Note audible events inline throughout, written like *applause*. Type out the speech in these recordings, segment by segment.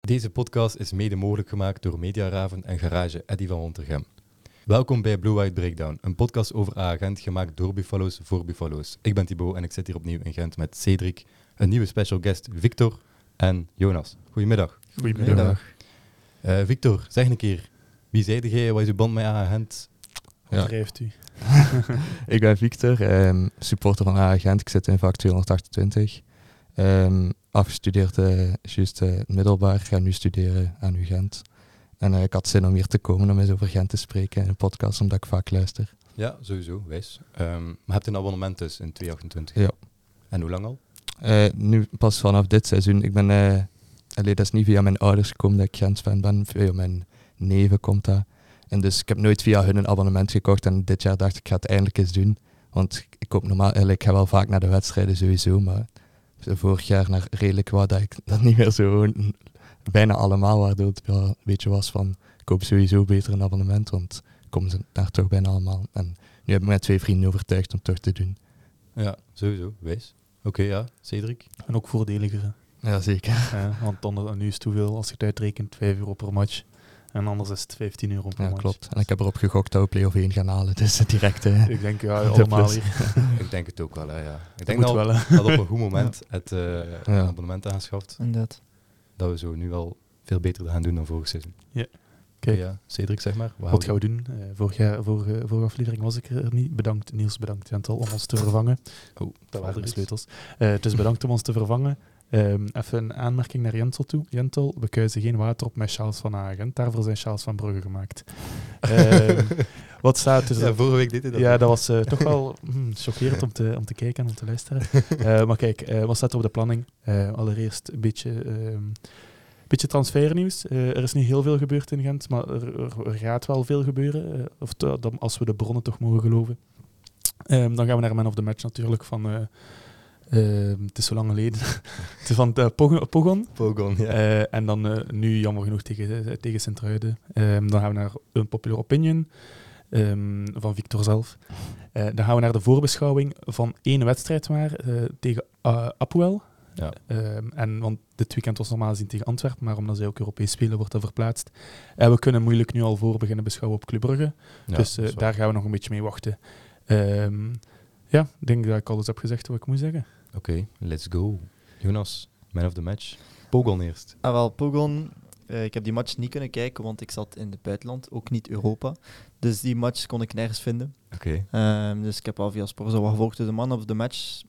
Deze podcast is mede mogelijk gemaakt door Mediaraven en Garage Eddy van Wontergem. Welkom bij Blue White Breakdown, een podcast over agent gemaakt door Buffalo's voor Buffalo's. Ik ben Thibaut en ik zit hier opnieuw in Gent met Cedric, een nieuwe special guest Victor en Jonas. Goedemiddag. Goedemiddag. Eh, Victor, zeg een keer, wie zeide jij, wat is uw band met agent? Wat Ja. drijft u? *laughs* Ik ben Victor, ehm, supporter van A Gent. Ik zit in vak 228. Ehm, afgestudeerd eh, juist eh, middelbaar. Ga nu studeren aan U Gent. En eh, ik had zin om hier te komen om eens over Gent te spreken in een podcast, omdat ik vaak luister. Ja, sowieso, wijs. Ehm, maar je hebt een abonnement dus in 228. Ja. En hoe lang al? Eh, nu pas vanaf dit seizoen. Ik ben, eh allee, dat is niet via mijn ouders gekomen dat ik Gent fan ben. Via mijn neven komt dat. En dus ik heb nooit via hun een abonnement gekocht. En dit jaar dacht ik, ik ga het eindelijk eens doen. Want ik koop normaal, allee, ik ga wel vaak naar de wedstrijden sowieso. Maar vorig jaar naar redelijk wat dat ik dat niet meer zo gewoon- bijna allemaal. Waardoor het wel een beetje was van, ik koop sowieso beter een abonnement. Want komen ze daar toch bijna allemaal. En nu heb ik mijn twee vrienden overtuigd om het toch te doen. Ja, sowieso, wijs. Oké, ja, Cedric. En ook voordeliger. hè. Jazeker. Eh, want anders, en nu is het hoeveel? Als je het uitrekent, 5 euro per match. En anders is het 15 euro per Ja, match. Dus klopt. En ik heb erop gegokt dat we play-off 1 gaan halen. *laughs* Dus direct, hè. Ik denk, ja, De allemaal plus. hier. Ik denk het ook wel, hè, ja. Ik Dat denk moet dat we wel, hè. dat op een goed *laughs* moment het eh, Ja. abonnement aangeschaft. Inderdaad. Dat we zo nu wel veel beter gaan doen dan vorig seizoen. Kijk, Ja, Cedric, zeg maar. wat gaan we doen? Eh, vorig jaar, vorige, vorige aflevering was ik er niet. Bedankt, Niels, bedankt, Jentel, om ons te vervangen. Oh, Dat waren de Fabrice. sleutels. Eh, dus bedankt om ons te vervangen. Ehm, even een aanmerking naar Jentel toe. Jentel, we kuisen geen water op met Charles van Hagen. Daarvoor zijn Charles van Brugge *laughs* gemaakt. Ehm, wat staat dus ja, vorige week deed hij dat. Ja, ook. dat was eh, *laughs* toch wel mm, chockerend om te, om te kijken en om te luisteren. Eh, maar kijk, eh, wat staat er op de planning? Eh, allereerst een beetje, ehm, beetje transfernieuws. Eh, er is niet heel veel gebeurd in Gent, maar er, er- er gaat wel veel gebeuren. eh, of te- dan, als we de bronnen toch mogen geloven. Ehm, dan gaan we naar Man of the Match natuurlijk van... eh, ehm, het is zo lang geleden. *laughs* Het is van eh, Pogon. Pogon. Pogon, ja. Eh, en dan eh, nu jammer genoeg tegen, eh, tegen Sint-Truiden. Ehm, dan gaan we naar een popular opinion ehm, van Victor zelf. Eh, dan gaan we naar de voorbeschouwing van één wedstrijd maar eh, tegen eh Apoel. Ja. Ehm, en, want dit weekend was normaal gezien tegen Antwerpen, maar omdat zij ook Europees spelen, wordt dat verplaatst. En we kunnen moeilijk nu al voor beginnen beschouwen op Club Brugge. Ja, dus eh, dat is waar. daar gaan we nog een beetje mee wachten. Ehm, ja, ik denk dat ik alles heb gezegd wat ik moet zeggen. Oké, let's go. Jonas, man of the match. Pogon eerst. Ah, wel, Pogon. eh, ik heb die match niet kunnen kijken, want ik zat in het buitenland, ook niet Europa. Dus die match kon ik nergens vinden. Oké. Ehm, dus ik heb al via Sporza wat gevolgd. Dus de man of the match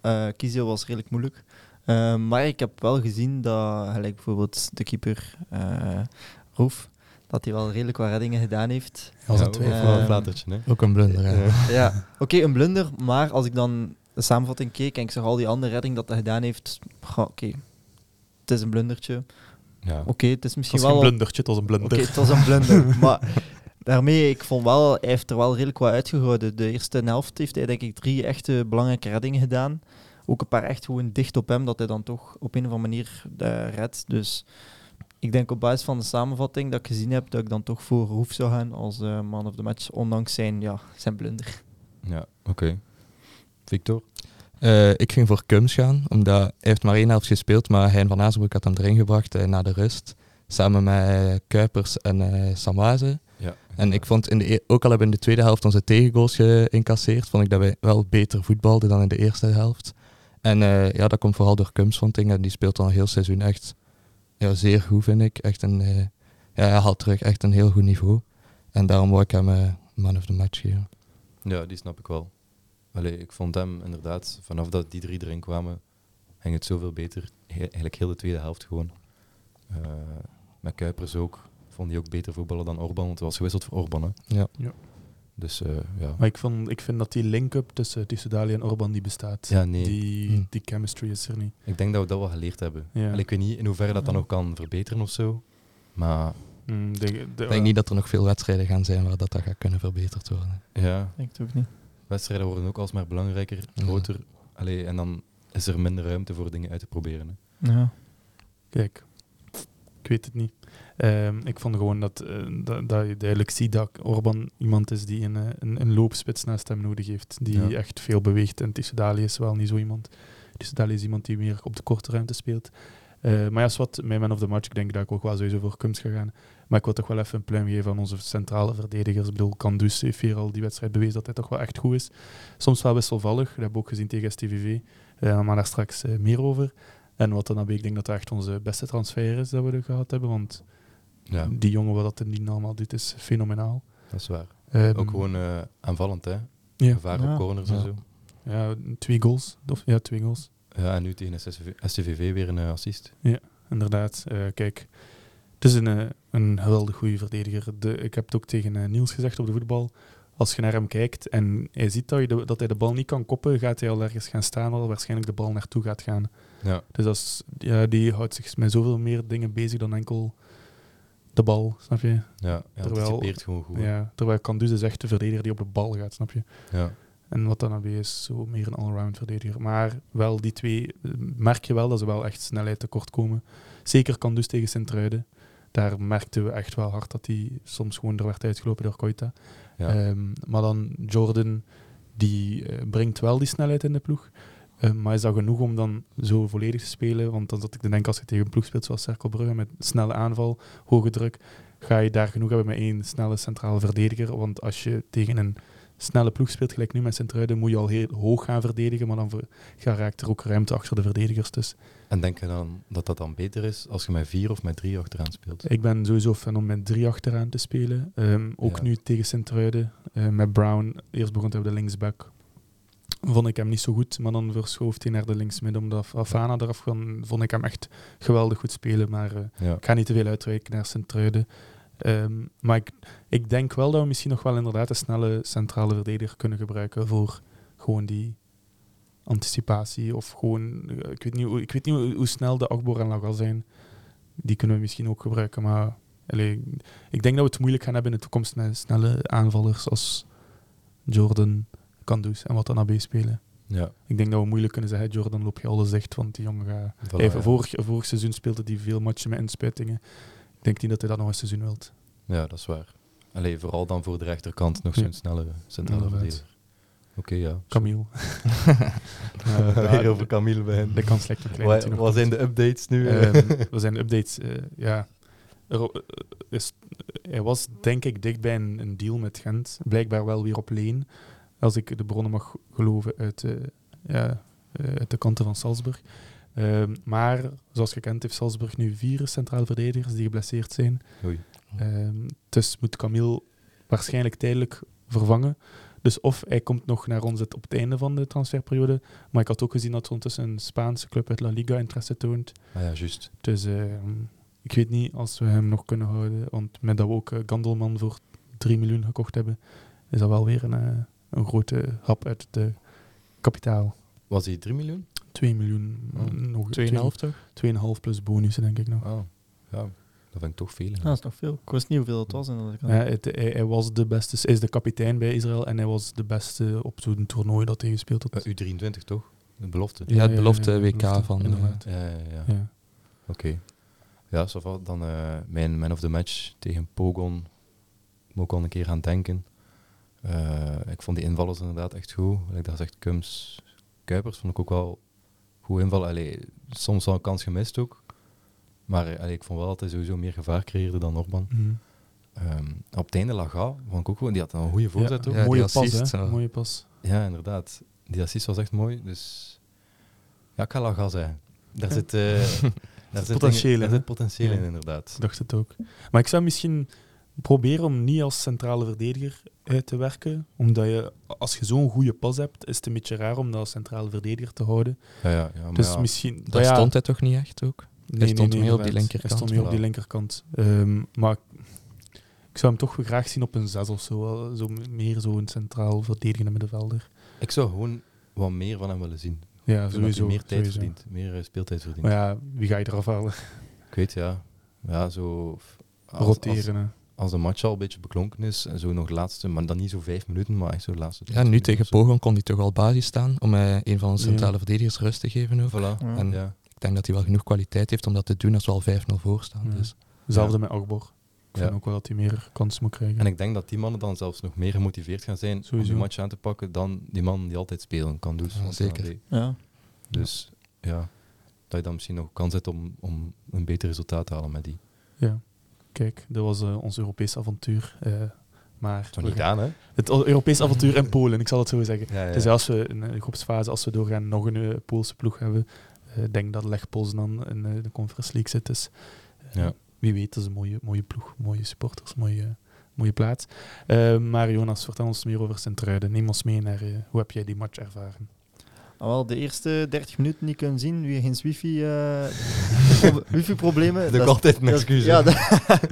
eh kiezen was redelijk moeilijk. Ehm, maar ik heb wel gezien dat, gelijk bijvoorbeeld de keeper eh Roef, dat hij wel redelijk wat reddingen gedaan heeft. Dat was Ja, eh, een twee. eh, ook wel een Ehm, flatertje, hè. Ook een blunder, hè. Ja. Ja, *laughs* oké, een blunder. Maar als ik dan de samenvatting keek en ik zag al die andere redding dat hij gedaan heeft, goh, oké, het is een blundertje. Oké, Ja. het is Het misschien was geen wel... blundertje, het was een Oké, blunder. het was een blunder. maar daarmee, ik vond wel, hij heeft er wel redelijk wat uitgehouden. De eerste helft heeft hij denk ik drie echte belangrijke reddingen gedaan. Ook een paar echt gewoon dicht op hem, dat hij dan toch op een of andere manier eh, redt. Dus ik denk op basis van de samenvatting dat ik gezien heb, dat ik dan toch voor Roef zou gaan als eh, man of the match, ondanks zijn, ja, zijn blunder. Ja, oké. Victor? Eh, ik ging voor Kums gaan, omdat hij heeft maar één helft gespeeld, maar Hein van Azenbroek had hem erin gebracht eh, na de rust. Samen met eh, Kuipers en eh Samaze. Ja. En ik vond, in de, e- ook al hebben we in de tweede helft onze tegengoals geïncasseerd, vond ik dat wij wel beter voetbalden dan in de eerste helft. En eh, ja, dat komt vooral door Kums, vond ik. En die speelt al een heel seizoen echt ja, zeer goed, vind ik. Echt een, eh, ja, hij haalt terug echt een heel goed niveau. En daarom wou ik hem eh, man of the match geven. Ja, die snap ik wel. Allee, ik vond hem inderdaad, vanaf dat die drie erin kwamen, ging het zoveel beter. He- eigenlijk heel de tweede helft gewoon. Eh, met Kuipers ook. Vond hij ook beter voetballen dan Orban, want hij was gewisseld voor Orban. Hè. Ja. Ja. Dus eh, ja. Maar ik, vond, ik vind dat die link-up tussen, tussen Dali en Orban die bestaat. Ja, nee. Die, Hm. die chemistry is er niet. Ik denk dat we dat wel geleerd hebben. Ja. Allee, ik weet niet in hoeverre dat dan nog kan verbeteren of zo. Maar Mm, de- de- Ik denk niet dat er nog veel wedstrijden gaan zijn waar dat, dat gaat kunnen verbeterd worden. ja, Ik het ook niet. wedstrijden worden ook alsmaar belangrijker, Ja. groter. Allee, en dan is er minder ruimte voor dingen uit te proberen. Hè. Ja. Kijk, ik weet het niet. Ehm, ik vond gewoon dat, eh, dat, dat je duidelijk ziet dat Orban iemand is die een, eh, een, een loopspits naast hem nodig heeft. Die Ja. echt veel beweegt. En Tissoudali is wel niet zo iemand. Tissoudali is iemand die meer op de korte ruimte speelt. Eh, maar ja, wat mijn man of the match, ik denk dat ik ook wel sowieso voor Kums ga gaan. Maar ik wil toch wel even een pluim geven aan onze centrale verdedigers. Ik bedoel, Kandus heeft hier al die wedstrijd bewezen dat hij toch wel echt goed is. Soms wel wisselvallig, dat hebben we ook gezien tegen STVV. Eh, maar daar straks eh, meer over. En wat dan ik denk dat dat echt onze beste transfer is dat we er gehad hebben. Want Ja, die jongen, wat dat in die naam al doet, is fenomenaal. dat is waar. Ehm, Ook gewoon eh, aanvallend, hè? ja, Gevaar Ja. op corners Ja. en zo. ja, twee goals. Of, ja, twee goals. Ja, en nu tegen SCV SCVV weer een eh, assist. inderdaad. Eh, kijk, het is een, eh, een geweldig goede verdediger. De, ik heb het ook tegen eh, Niels gezegd op de voetbal. Als je naar hem kijkt en hij ziet dat, je de- dat hij de bal niet kan koppen, gaat hij al ergens gaan staan waar waarschijnlijk de bal naartoe gaat gaan. Ja, Dus dat is- ja, die houdt zich met zoveel meer dingen bezig dan enkel de bal, snap je? ja hij Terwijl- anticipeert gewoon goed. Ja. Ja, terwijl Kandus is echt de verdediger die op de bal gaat, snap je? En wat dan weer is, zo meer een allround verdediger. Maar wel die twee eh, merk je wel dat ze wel echt snelheid tekort komen. Zeker kan dus tegen Sint-Truiden. Daar merkten we echt wel hard dat hij soms gewoon er werd uitgelopen door Koita. Ja. Ehm, maar dan Jordan, die eh, brengt wel die snelheid in de ploeg. Eh, maar is dat genoeg om dan zo volledig te spelen? Want dan zat ik te denken, als je tegen een ploeg speelt zoals Cerkelbrugge met snelle aanval, hoge druk, ga je daar genoeg hebben met één snelle centrale verdediger. Want als je tegen een snelle ploeg speelt, gelijk nu met Sint-Truiden, moet je al heel hoog gaan verdedigen, maar dan ver- ga- raakt er ook ruimte achter de verdedigers. Dus En denk je dan dat dat dan beter is als je met vier of met drie achteraan speelt? ik ben sowieso fan om met drie achteraan te spelen. Ehm, ook Ja. nu tegen Sint-Truiden, eh, met Brown. Eerst begon hij op de linksback. Vond ik hem niet zo goed, maar dan verschoof hij naar de linksmidden. Omdat Afana eraf kwam, vond ik hem echt geweldig goed spelen. Maar eh, Ja. Ik ga niet te veel uitwijken naar Sint-Truiden. Ehm, maar ik, ik denk wel dat we misschien nog wel inderdaad een snelle centrale verdediger kunnen gebruiken voor gewoon die anticipatie. Of gewoon, eh, ik weet niet, hoe- ik weet niet hoe, hoe snel de Akbor en Lagal zijn. Die kunnen we misschien ook gebruiken. Maar allee, ik denk dat we het moeilijk gaan hebben in de toekomst met snelle aanvallers als Jordan, Kandus en Watanabe spelen. ja. Ik denk dat we moeilijk kunnen zeggen, Jordan loop je alles echt, want die jongen gaat... Voilà, Even ja. vorig, vorig seizoen speelde hij veel matchen met inspuitingen. Ik denk niet dat hij dat nog een seizoen wilt. Ja, dat is waar. Allee, vooral dan voor de rechterkant nog Ja. zo'n snelle centrale Inderdaad. verdediger. Oké, *laughs* ja. Camille. *laughs* Eh, Weer ja, over Camille bij hen. De kans lijkt me klein. dat Wat hij nog wat zijn komt. de updates nu? eh. Ehm, wat zijn de updates? Eh, ja. Er, eh, is, hij was denk ik dichtbij een, een deal met Gent. Blijkbaar wel weer op leen. Als ik de bronnen mag geloven uit, eh, ja, eh, uit de kanten van Salzburg. Ehm, maar zoals gekend heeft Salzburg nu vier centrale verdedigers die geblesseerd zijn. Oei. Ehm, dus moet Camille waarschijnlijk tijdelijk vervangen. Dus of hij komt nog naar ons het- op het einde van de transferperiode. Maar ik had ook gezien dat er ondertussen een Spaanse club uit La Liga interesse toont. Ah ja, juist. Dus ehm, ik weet niet als we hem nog kunnen houden. Want met dat we ook eh, Gandelman voor 3 miljoen gekocht hebben, is dat wel weer een, eh, een grote hap uit het eh, kapitaal. Was hij 3 miljoen? 2 miljoen. mm, Oh, nog 2,5 toch? 2,5 plus bonussen, denk ik nog. Oh, ja. Dat vind ik toch veel. hè. Ah, dat is nog veel. Ik wist niet hoeveel het was. En dat ik Ja, het- hij, hij was de beste, hij is de kapitein bij Israël en hij was de beste op zo'n toernooi dat hij gespeeld had. Eh, U23 toch? De belofte. Ja, het belofte WK belofte, van, eh, inderdaad. Ja, ja, ja. Ja. Oké. Ja, ça va. Dan eh, mijn man of the match tegen Pogon. Moet ik al een keer aan denken. Eh, ik vond die invallers inderdaad echt goed. Like dat zegt Kums. Kuipers vond ik ook wel goed invallen. Allee, soms wel een kans gemist ook. Maar eh, allee, ik vond wel dat hij sowieso meer gevaar creëerde dan Orban. Mhm. Ehm, op het einde Laga, vond ik ook gewoon, die had een goede voorzet Ja, ook. Ja, die mooie, assist, eh. pas, hè? zo. mooie pas. Ja, inderdaad. Die assist was echt mooi. Dus ja, ik ga Laga zijn. Daar zit, *laughs* eh, daar zit potentieel dingen- in, Daar hè? zit potentieel in, Ja. inderdaad. Ik dacht het ook. Maar ik zou misschien proberen om niet als centrale verdediger uit te werken. Omdat je, als je zo'n goede pas hebt, is het een beetje raar om dat als centrale verdediger te houden. Ja, ja, ja, maar Dus ja. misschien... Daar maar ja, stond hij toch niet echt ook? Nee, Hij stond meer op die inderdaad. linkerkant, Hij stond meer op voilà. die linkerkant. Ehm, maar ik- ik zou hem toch graag zien op een 6 of zo. wel zo m- meer zo'n centraal verdedigende middenvelder. Ik zou gewoon wat meer van hem willen zien. Ja, Ik vind dat sowieso. hij meer tijd sowieso. verdient, meer eh, speeltijd verdient. Maar ja, wie ga je eraf halen? Ik weet ja, ja zo. f- Als, Als, Roteren. hè. als de match al een beetje beklonken is en zo nog de laatste, maar dan niet zo vijf minuten, maar echt zo de laatste. Ja, 20 nu minuten tegen of zo. Pogon kon hij toch al basis staan om eh, een van onze Ja. centrale verdedigers rust te geven. Ook. Voilà. Ja. En Ja. ik denk dat hij wel genoeg kwaliteit heeft om dat te doen als we al 5-0 voor staan. Ja. Dus. Hetzelfde met Agbor. Ik vind Ja. ook wel dat hij meer kansen moet krijgen. En ik denk dat die mannen dan zelfs nog meer gemotiveerd gaan zijn Sowieso. om die match aan te pakken dan die mannen die altijd spelen kan doen. Ja, zeker. ja. Dus ja, dat je dan misschien nog kans hebt om, om een beter resultaat te halen met die. Ja. Kijk, dat was eh, ons Europees avontuur. eh, maar Toch we niet gaan- gedaan, hè? het Europees avontuur in Polen, ik zal het zo zeggen. Ja, ja. Dus als we in de groepsfase, als we doorgaan, nog een eh, Poolse ploeg hebben. Eh, Ik denk dat Lech Poznan in eh, de Conference League zit. Dus eh, Ja. wie weet, dat is een mooie, mooie ploeg, mooie supporters, mooie, mooie plaats. Eh, maar Jonas, vertel ons meer over Sint-Truiden. Neem ons mee naar eh, hoe heb jij die match ervaren? Ah, wel, de eerste 30 minuten niet kunnen zien, weer geen wifi, eh, *laughs* wifi-problemen. *laughs* Dat is ook altijd een dat is- excuus. hè. Ja, dat- *laughs*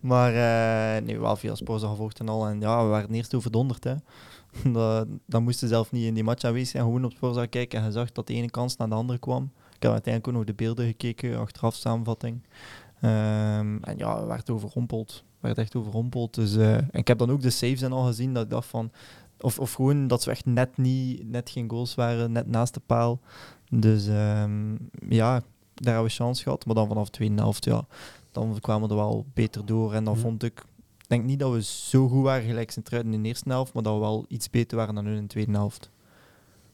maar eh, nee, wel veel sports gevolgd en al. En ja, we waren eerst overdonderd. Hè. *laughs* dat, dat moesten zelf niet in die match aanwezig zijn. Gewoon op sports kijken en je zag dat de ene kans naar de andere kwam. Ik heb uiteindelijk ook nog de beelden gekeken, achteraf samenvatting. Ehm, en ja, we werden overrompeld. We werden echt overrompeld. Dus, eh, en ik heb dan ook de saves en al gezien dat ik dacht van... Of, of gewoon dat ze echt net, niet, net geen goals waren, net naast de paal. Dus ehm, ja, daar hebben we chance gehad. Maar dan vanaf de tweede helft, ja, dan kwamen we er wel beter door. En dan Ja. vond ik, ik denk niet dat we zo goed waren gelijk Sint-Truiden in de eerste helft, maar dat we wel iets beter waren dan hun in de tweede helft.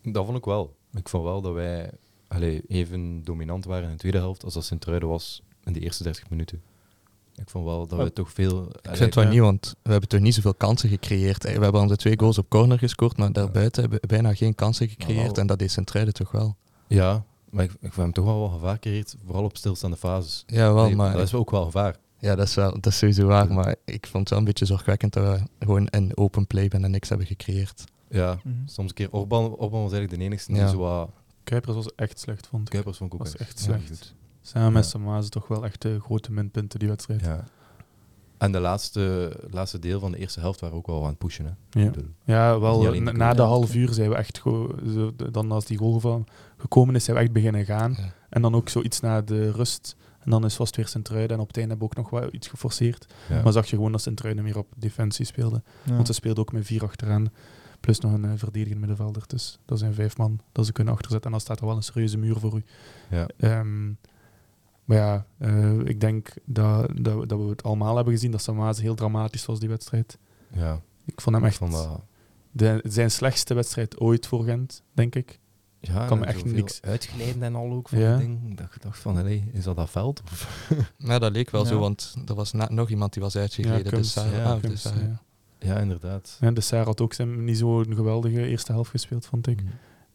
Dat vond ik wel. Ik vond wel dat wij allee, even dominant waren in de tweede helft als dat Sint-Truiden was in de eerste 30 minuten. Ik vond wel dat we Oh. toch veel... Ik allee, vind het wel ja. niet, want we hebben toch niet zoveel kansen gecreëerd. Eh, We hebben onze twee goals op corner gescoord, maar daarbuiten hebben we bijna geen kansen Maar gecreëerd. wel- En dat is Sint-Truiden toch wel. Ja, maar ik, ik vond hem toch wel wel gevaar creëert, vooral op stilstaande fases. Ja, wel, Nee, maar Dat is wel ook wel gevaar. Ja, dat is, wel, dat is sowieso waar. Maar ik vond het wel een beetje zorgwekkend dat we gewoon een open play bijna niks hebben gecreëerd. Ja, Mhm. soms een keer Orban, Orban was eigenlijk de enigste die Ja. zo wat... Kuipers was echt slecht, vond ik. Kuipers vond ik ook Was echt heel slecht. goed. Samen met Ja. Samazen toch wel echt eh, grote minpunten die wedstrijd. Ja, Ja. En de laatste, laatste deel van de eerste helft waren we ook wel aan het pushen. Hè. ja. Ik bedoel, wel, Niet alleen na, de na de goal. half uur zijn we echt gewoon... zo- Dan als die goal gevallen- gekomen is, zijn we echt beginnen gaan. Ja. En dan ook zoiets na de rust. En dan is vast weer Sint-Truiden. En op het einde hebben we ook nog wel iets geforceerd. ja. Maar zag je gewoon dat Sint-Truiden meer op defensie speelde. Want ze speelden ook met vier achteraan. Plus nog een eh, verdedigend middenvelder. Dus dat zijn vijf man dat ze kunnen achterzetten. En dan staat er wel een serieuze muur voor u. Ja. Ehm, maar ja, eh, ik denk dat, dat, we- dat we het allemaal hebben gezien. Dat Samaze heel dramatisch was, die wedstrijd. Ja, Ik vond hem ik echt vond dat... de, zijn slechtste wedstrijd ooit voor Gent, denk ik. Ja, kan me en echt zoveel niks- Uitglijden en al ook van Ja. dat ding. Dat ik dacht van, allee, is dat dat veld? Of- Ja, dat leek wel Ja. zo, want er was na- nog iemand die was Ja, uitgegleden. Kums, dus daar- ja, ah, Kums, dus daar- ja. Ja, inderdaad. Ja, de Saar had ook zijn, niet zo'n geweldige eerste helft gespeeld, vond Mm. ik.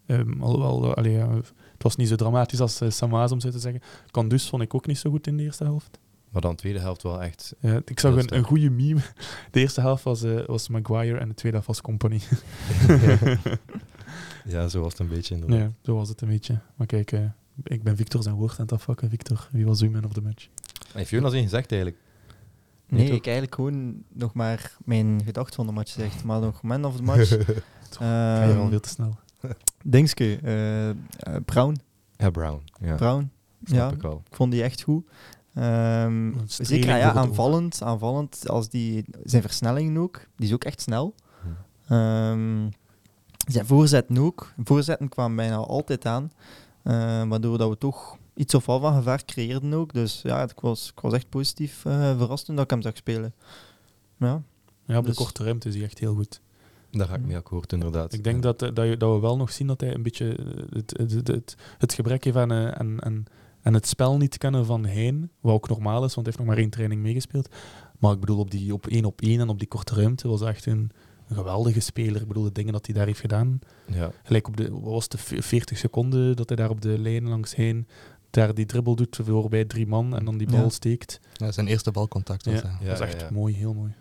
Ehm, alhoewel, eh, allee, ja, het was niet zo dramatisch als eh, Samaas, om zo te zeggen. Kandus vond ik ook niet zo goed in de eerste helft. Maar dan de tweede helft wel echt... Ja, ik zag Heel een, sterk. een goede meme. *laughs* De eerste helft was, eh, was Maguire en de tweede helft was Company. ja, zo was het een beetje inderdaad. *laughs* ja, zo was het een beetje. Maar kijk, eh, ik ben Victor zijn woord aan het afvakken. Victor, wie was uw man of the match? Heeft Jonas één gezegd eigenlijk? Nee, toch? ik eigenlijk gewoon nog maar mijn gedachten van de match zegt, maar nog man of the *laughs* match. Ga je al Ehm veel te snel. Dingske, eh, eh, Brown. Ja, Brown. Ja, Brown, snap ja. ik wel. Ik vond die echt goed. Ehm, Een streeling zeker ah ja, door het oog. aanvallend, aanvallend. Als die, zijn versnelling ook, die is ook echt snel. Ehm, zijn voorzetten ook. Voorzetten kwamen bijna altijd aan. eh, waardoor dat we toch iets of wat van gevaar creëerden ook. Dus ja, ik was, ik was echt positief eh, verrast toen dat ik hem zag spelen. Ja, Ja, op de Dus- korte ruimte is hij echt heel goed. Daar ga ik mee akkoord, inderdaad. Ik denk Ja. dat, eh, dat, je, dat we wel nog zien dat hij een beetje eh, het, het, het, het, het gebrek heeft aan, eh, aan, aan, aan het spel niet kennen van Hein. Wat ook normaal is, want hij heeft nog maar één training meegespeeld. Maar ik bedoel, op die op één op één en op die korte ruimte was hij echt een, een geweldige speler. Ik bedoel, de dingen dat hij daar heeft gedaan. Ja, Gelijk op de, wat was het, de ve- 40 seconden dat hij daar op de lijn langs heen daar die dribbel doet voorbij drie man en dan die bal Ja. steekt. Ja, zijn eerste balcontact was dat. Ja, dat is ja, echt ja. mooi, heel mooi.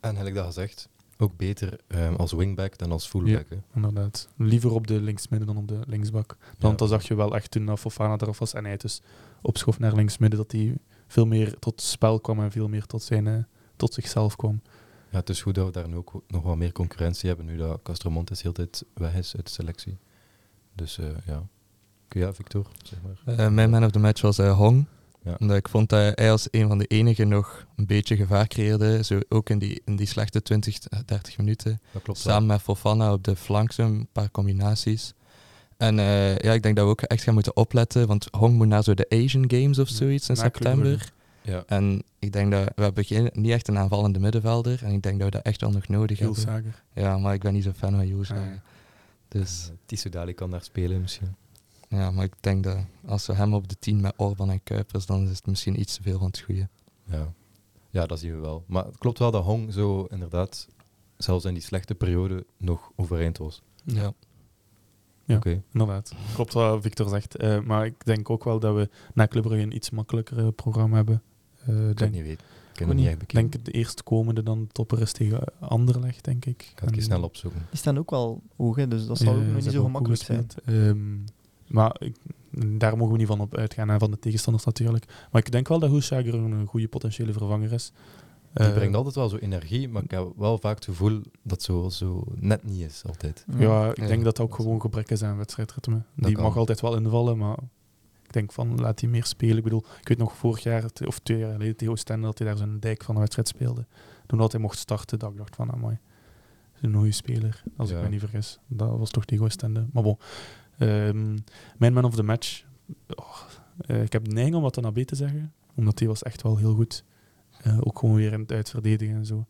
en heb ik dat gezegd? Ook beter ehm, als wingback dan als fullback. hè. Inderdaad. Liever op de linksmidden dan op de linksbak. Want dan zag je wel echt toen dat Fofana eraf was en hij dus opschoof naar linksmidden, dat hij veel meer tot spel kwam en veel meer tot, zijn, eh, tot zichzelf kwam. Ja, het is goed dat we daar nu ook nog wat meer concurrentie hebben, nu dat Castromontes heel de tijd weg is uit de selectie. Dus eh, ja. Ja, Victor, zeg maar. Eh, mijn man of the match was eh, Hong. Ja. Omdat ik vond dat hij als een van de enigen nog een beetje gevaar creëerde. Zo ook in die, in die slechte 20, eh, 30 minuten. Dat klopt wel. Samen met Fofana op de flank, zo'n paar combinaties. En eh, ja, ik denk dat we ook echt gaan moeten opletten, want Hong moet naar zo de Asian Games of Ja, zoiets in na september. Ja. En ik denk dat we hebben geen, niet echt een aanvallende middenvelder en ik denk dat we dat echt wel nog nodig hebben. Gilsager. Ja, maar ik ben niet zo fan van Jules. Ah, ja. Dus Eh, Tissou Dali kan daar spelen misschien. Ja, maar ik denk dat als we hem op de 10 met Orban en Kuipers, dan is het misschien iets te veel van het goede. Ja. ja, dat zien we wel. Maar het klopt wel dat Hong zo inderdaad, zelfs in die slechte periode, nog overeind was. Ja. Ja. Oké. Inderdaad, klopt wat Victor zegt. Eh, maar ik denk ook wel dat we na Club Brugge een iets makkelijker programma hebben. Ik Eh, kan denk, het niet weten. Ik heb Ik het niet echt Ik bekeken. denk de eerstkomende dan topper is tegen Anderlecht, denk Ik ik. ga het En- een keer snel opzoeken. Die staan ook wel hoog, hè, dus dat zal Ja, ook Eh, ze nog hebben niet zo ook gemakkelijk goed zijn. gespeeld. Ehm, maar ik, daar mogen we niet van op uitgaan, en van de tegenstanders natuurlijk. Maar ik denk wel dat Hoesjager een goede potentiële vervanger is. Die Eh, brengt altijd wel zo energie, maar ik heb wel vaak het gevoel dat zo, zo net niet is, altijd. Ja, ik Ja. denk dat dat ook gewoon gebrek is aan wedstrijdritme. Die kan. mag altijd wel invallen, maar ik denk van laat die meer spelen. Ik bedoel, ik weet nog vorig jaar, te- of twee jaar geleden, tegen Oostende, dat hij daar zo'n dijk van een wedstrijd speelde. Toen dat hij mocht starten, dat ik dacht van, amai, dat is een goede speler, als Ja. ik me niet vergis. Dat was toch tegen Oostende. Maar bon, Ehm, mijn man of the match, oh, eh, ik heb de neiging om wat aan AB te zeggen, omdat die was echt wel heel goed. Eh, ook gewoon weer in het uitverdedigen en zo.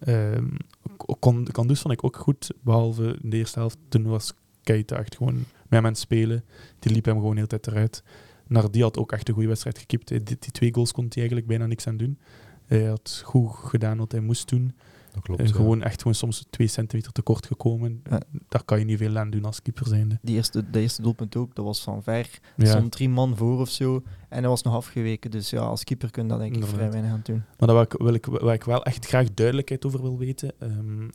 Ehm, K- kon, kan dus vond ik ook goed, behalve in de eerste helft. Toen was Keita echt gewoon met hem aan het spelen. Die liep hem gewoon de hele tijd eruit. Nardi had ook echt een goede wedstrijd gekiept. Die, die twee goals kon hij eigenlijk bijna niks aan doen. Hij had goed gedaan wat hij moest doen. Dat klopt. en ja. Eh, gewoon echt gewoon soms twee centimeter tekort gekomen. Ja. Daar kan je niet veel aan doen als keeper zijnde. Die eerste, dat eerste doelpunt ook, dat was van ver. Er Ja. stond drie man voor of zo. En hij was nog afgeweken. Dus ja, als keeper kun je dat denk ik vrij Inderdaad. weinig aan doen. Maar daar waar ik, wil ik, waar ik wel echt graag duidelijkheid over wil weten. ehm,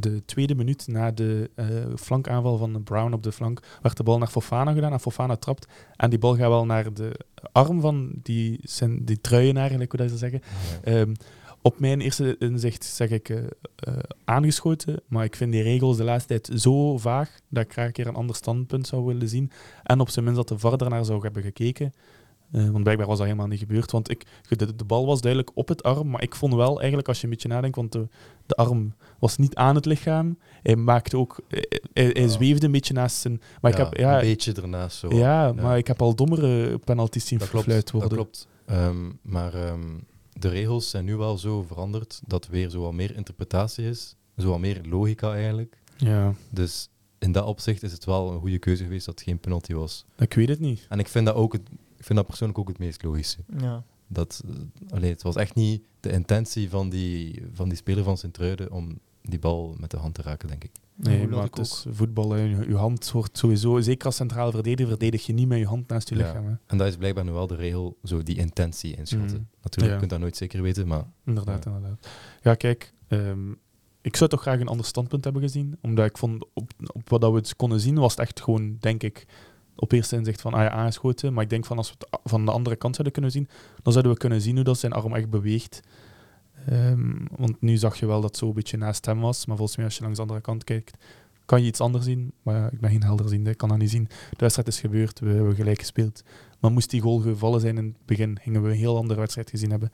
de tweede minuut na de eh, flankaanval van Brown op de flank werd de bal naar Fofana gedaan. En Fofana trapt. En die bal gaat wel naar de arm van die, zijn, die truienaar, gelijk hoe dat ze zeggen. Ja. Ehm, op mijn eerste inzicht zeg ik eh, eh, aangeschoten, maar ik vind die regels de laatste tijd zo vaag dat ik graag een keer een ander standpunt zou willen zien. En op zijn minst dat de VAR daarnaar zou hebben gekeken. Eh, want blijkbaar was dat helemaal niet gebeurd. Want ik, de, de bal was duidelijk op het arm, maar ik vond wel eigenlijk, als je een beetje nadenkt, want de, de arm was niet aan het lichaam. Hij maakte ook, hij, hij- hij Ja. zweefde een beetje naast zijn. Maar ik Ja, heb, ja, Een beetje ernaast zo. ja, maar ik heb al dommere penalties zien dat klopt. gefluit worden. Dat klopt. Ehm, maar ehm, de regels zijn nu wel zo veranderd dat weer zo wat meer interpretatie is. Zo wat meer logica eigenlijk. Ja, Dus in dat opzicht is het wel een goede keuze geweest dat het geen penalty was. ik weet het niet. En ik vind dat, ook het, ik vind dat persoonlijk ook het meest logische. Ja. Dat, eh, allee, het was echt niet de intentie van die, van die speler van Sint-Truiden om die bal met de hand te raken, denk ik. Ja, Nee, hoe laat maar ik het is voetbal. hè. Je, je hand wordt sowieso, zeker als centraal verdediger, verdedig je niet met je hand naast je Ja. lichaam. Hè. En dat is blijkbaar nu wel de regel, zo die intentie inschatten. Mm. Natuurlijk, Ja. je kunt dat nooit zeker weten, maar Inderdaad, Ja. inderdaad. Ja, kijk, ehm, ik zou toch graag een ander standpunt hebben gezien. Omdat ik vond, op, op wat dat we het konden zien, was het echt gewoon, denk ik, op eerste inzicht van ah ja, aangeschoten. Maar ik denk van als we het a- van de andere kant zouden kunnen zien, dan zouden we kunnen zien hoe dat zijn arm echt beweegt. Ehm, want nu zag je wel dat het zo een beetje naast hem was. Maar volgens mij, als je langs de andere kant kijkt, kan je iets anders zien. Maar ja, ik ben geen helderziende, ik kan dat niet zien. De wedstrijd is gebeurd, we hebben gelijk gespeeld. Maar moest die goal gevallen zijn in het begin, gingen we een heel andere wedstrijd gezien hebben.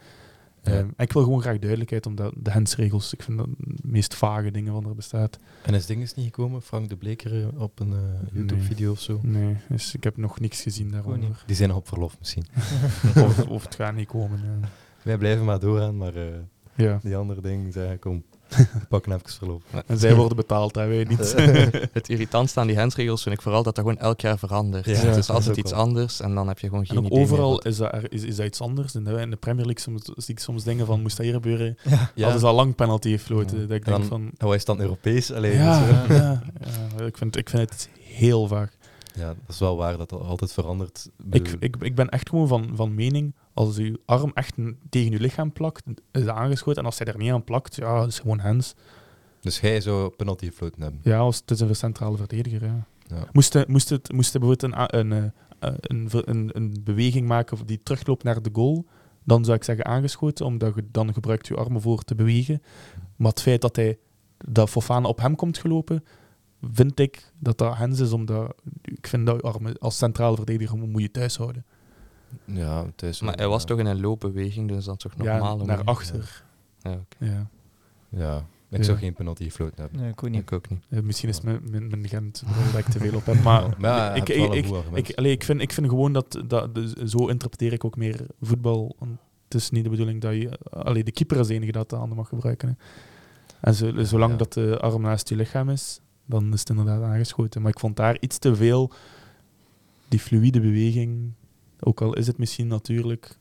Ja. Ehm, en ik wil gewoon graag duidelijkheid, omdat de hensregels, ik vind dat de meest vage dingen van er bestaat. En is ding is niet gekomen, Frank de Bleker eh, op een eh, YouTube-video of zo. Nee, dus ik heb nog niks gezien daaronder. Die zijn nog op verlof misschien. Of, of het gaat niet komen. Ja. Wij blijven maar doorgaan, maar eh, Ja. die andere dingen zeggen, kom, pak even verlof. Eh, En zij worden betaald, hè, wij *laughs* niet. Het irritantste aan die hensregels vind ik vooral dat dat gewoon elk jaar verandert. Dus Ja, het dat is is altijd ook iets wel. anders en dan heb je gewoon *laughs* geen En ook idee meer overal wat- is dat, er- is, is dat iets anders. In de, in de Premier League soms, zie ik soms dingen van, moest dat hier gebeuren? Ja, Hadden ze al lang penalty gefloten. Ja. Dat ik En dan- denk van... en wat Nou, is dan Europees? Allee, Ja, dus, eh, ja, ja. ik, vind, ik vind het heel vaag. ja, dat is wel waar dat dat altijd verandert. Ik, bedoel, ik, ik ben echt gewoon van, van mening, als uw arm echt n- tegen uw lichaam plakt, is dat aangeschoten. En als hij er niet aan plakt, ja, is gewoon hands. Dus jij zou penalty gefloten hebben. Ja, als, het is een centrale verdediger, ja. Ja. Moest, hij- moest, het, moest hij bijvoorbeeld een, a- een, eh, eh, een, ver- een, een beweging maken die terugloopt naar de goal, dan zou ik zeggen aangeschoten, omdat je dan gebruikt je armen voor te bewegen. Maar het feit dat hij dat Fofana op hem komt gelopen, vind ik dat dat hands is, omdat ik vind dat je armen als centrale verdediger moet je thuis houden. Ja, thuis Maar wel, hij was ja. toch in een loopbeweging, dus dan toch normaal. ja, om- naar achter. Ja, oké. Ja. Ja, ik Ja. zou geen penalty gefloten hebben. Nee, ik weet niet. Ik ook niet. Eh, misschien is mijn, mijn, mijn Gent dat ik te veel op heb, *laughs* maar... ja, ik, je hebt ik, wel een ik, goed argument. ik, allee, ik, vind, ik vind gewoon dat, dat dus zo interpreteer ik ook meer voetbal. Want het is niet de bedoeling dat je alleen de keeper is de enige dat de handen mag gebruiken. Hè. En zo, zolang Ja. dat de arm naast je lichaam is, dan is het inderdaad aangeschoten. Maar ik vond daar iets te veel die fluïde beweging, ook al is het misschien natuurlijk,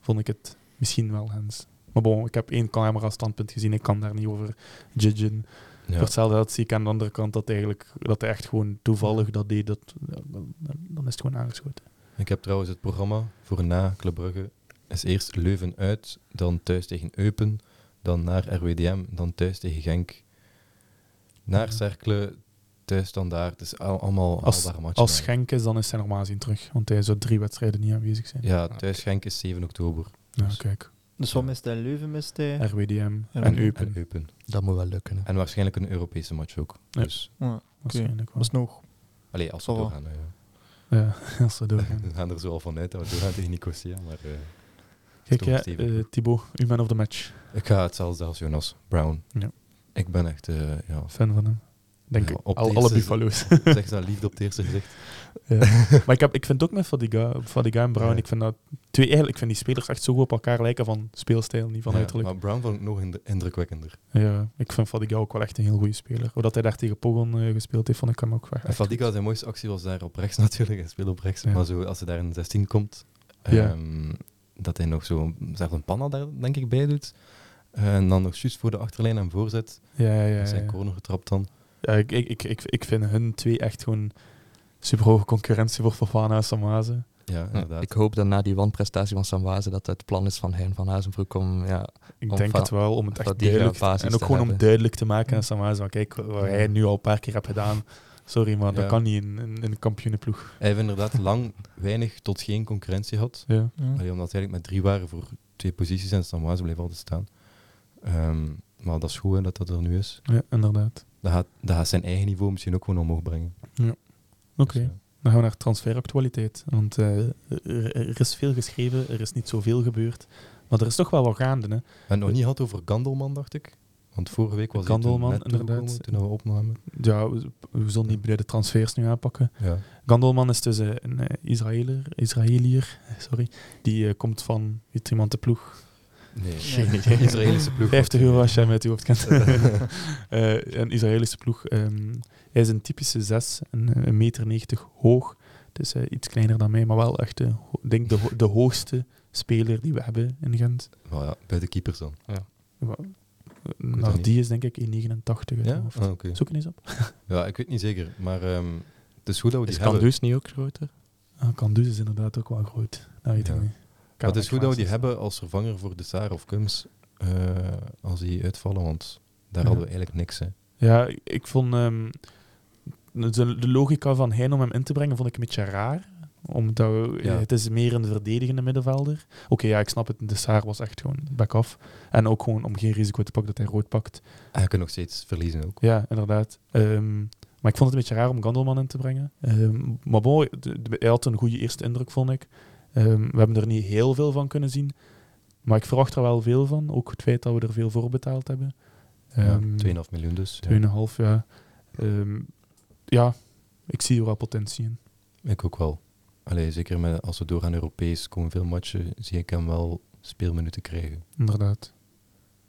vond ik het misschien wel Hens. Maar bon, ik heb één camera-standpunt gezien, ik kan daar niet over judgen. Ja. Voor hetzelfde geld zie ik aan de andere kant dat, eigenlijk, dat hij echt gewoon toevallig dat deed, dat, ja, dan- dan is het gewoon aangeschoten. Ik heb trouwens het programma voor na Club Brugge. Is eerst Leuven uit, dan thuis tegen Eupen, dan naar RWDM, dan thuis tegen Genk. Naar Ja. Cerkelen, thuis dan daar. Het is al- allemaal Als- haalbare matchen. Als eigenlijk. Genk is, dan is hij normaal gezien terug, want hij zou drie wedstrijden niet aanwezig zijn. Ja, thuis Genk is 7 oktober. Ja, kijk, Dus wat mist hij? Leuven mist hij? RWDM En en En Eupen, Eupen. Dat moet wel lukken. hè. En waarschijnlijk een Europese match ook. Ja. Dus, waarschijnlijk Dat wel. is nog. allee, als we Zal wel. doorgaan. hè, ja. Ja, *laughs* als ze doorgaan. *laughs* We gaan er zo al van uit dat we doorgaan tegen Nicosia, maar... eh, Kijk, toch ja, stevig. eh, Thibaut, u man of the match. Ik ga hetzelfde als Jonas Brown. Ja. Ik ben echt, eh, ja, Fan van hem. Denk Ja, ik. op de Al, alle eerste- Buffalo's. *laughs* *laughs* zeg eens dat liefde op het eerste gezicht. Ja. maar ik, heb, ik vind ook met Fadiga, Fadiga en Brown, Ja. ik vind dat twee, eigenlijk, ik vind die spelers echt zo goed op elkaar lijken van speelstijl, niet van Ja, uiterlijk. Maar Brown vond ik nog ind- indrukwekkender. Ja, ik vind Fadiga ook wel echt een heel goede speler. Hoe dat hij daar tegen Pogon eh, gespeeld heeft, vond ik hem ook wel En echt Fadiga, zijn mooiste actie was daar op rechts *laughs* natuurlijk. Hij speelde op rechts. Ja. Maar zo, als hij daar in de 16 komt, Ja. ehm, dat hij nog zo zelfs een panna daar denk ik bij doet. eh, En dan nog juist voor de achterlijn en voorzet. goed. Ja, ja, ja. zijn ja. corner getrapt dan. Ja, ik, ik, ik, ik, ik vind hun twee echt gewoon superhoge concurrentie voor Fofana en Samaze. Ja, inderdaad. Ik hoop dat na die wanprestatie van Samwaze dat het plan is van Hein van Hazenbroek om... Ja, Ik Om denk van- het wel, om het van echt die duidelijk basis En ook te gewoon om hebben. Mm. duidelijk te maken aan Samaze, van kijk, wat hij nu al een paar keer hebt gedaan, sorry, maar dat Ja. kan niet in, in, in een kampioenenploeg. Hij heeft inderdaad lang weinig tot geen concurrentie gehad. Ja. Allee, omdat ze eigenlijk met drie waren voor twee posities en Samuaze bleef altijd staan. Ehm, maar dat is goed hè, dat dat er nu is. ja, inderdaad. Dat gaat, dat gaat zijn eigen niveau misschien ook gewoon omhoog brengen. Oké. Dus, eh, Dan gaan we naar transferactualiteit. Want eh, er, er is veel geschreven, er is niet zoveel gebeurd. Maar er is toch wel wat gaande. Hè? En nog niet had over Gandelman, dacht ik. Want vorige week was Gandelman, hij toen net toegekomen, inderdaad. toen we opnamen. Ja, we, we zullen niet bij de transfers nu aanpakken. Ja. Gandelman is dus eh, een eh, Israëler, Israëlier, sorry. Die eh, komt van weet iemand de ploeg. Nee, *laughs* Geen idee. geen *laughs* Israëlische ploeg. 50 euro als jij hem uit je *laughs* hoofd kent. *laughs* Eh, een Israëlische ploeg. ehm, hij is een typische 6, een, eh, een meter 90 hoog. Dus eh, iets kleiner dan mij, maar wel echt eh, ho- ik denk de, ho- de hoogste speler die we hebben in Gent. Maar ja, bij de keepers dan. Wa- dat Naar niet. die is denk ik 1,89. Ja? Ja? Ah, oké. Zoek het eens op. Ja, ik weet niet zeker. Maar ehm, het is goed dat we die is hebben. Candus niet ook groter? Ah, Kandus is inderdaad ook wel groot. Dat weet Ja. ik niet. Maar het is goed dat we die Karakwaas. hebben als vervanger voor de Saar of Kums. eh, als die uitvallen, want daar Ja. hadden we eigenlijk niks. Hè. Ja, ik vond ehm, de, de logica van Hein om hem in te brengen vond ik een beetje raar. Omdat we- Ja. het is meer een verdedigende middenvelder. Oké, ja, ik snap het. De Saar was echt gewoon back-off. En ook gewoon om geen risico te pakken dat hij rood pakt. En we kunnen nog steeds verliezen ook. Ja, inderdaad. Ehm, maar ik vond het een beetje raar om Gandelman in te brengen. Ehm, maar bon, de- de- hij had een goede eerste indruk, vond ik. Ehm, we hebben er niet heel veel van kunnen zien. Maar ik verwacht er wel veel van. Ook het feit dat we er veel voor betaald hebben. Ja, Ehm, 2,5 miljoen dus. Ja. 2,5, ja. Ehm, ja, ik zie er wel potentie in. Ik ook wel. Allee, zeker met, als we doorgaan Europees, komen veel matchen, zie ik hem wel speelminuten krijgen. Inderdaad.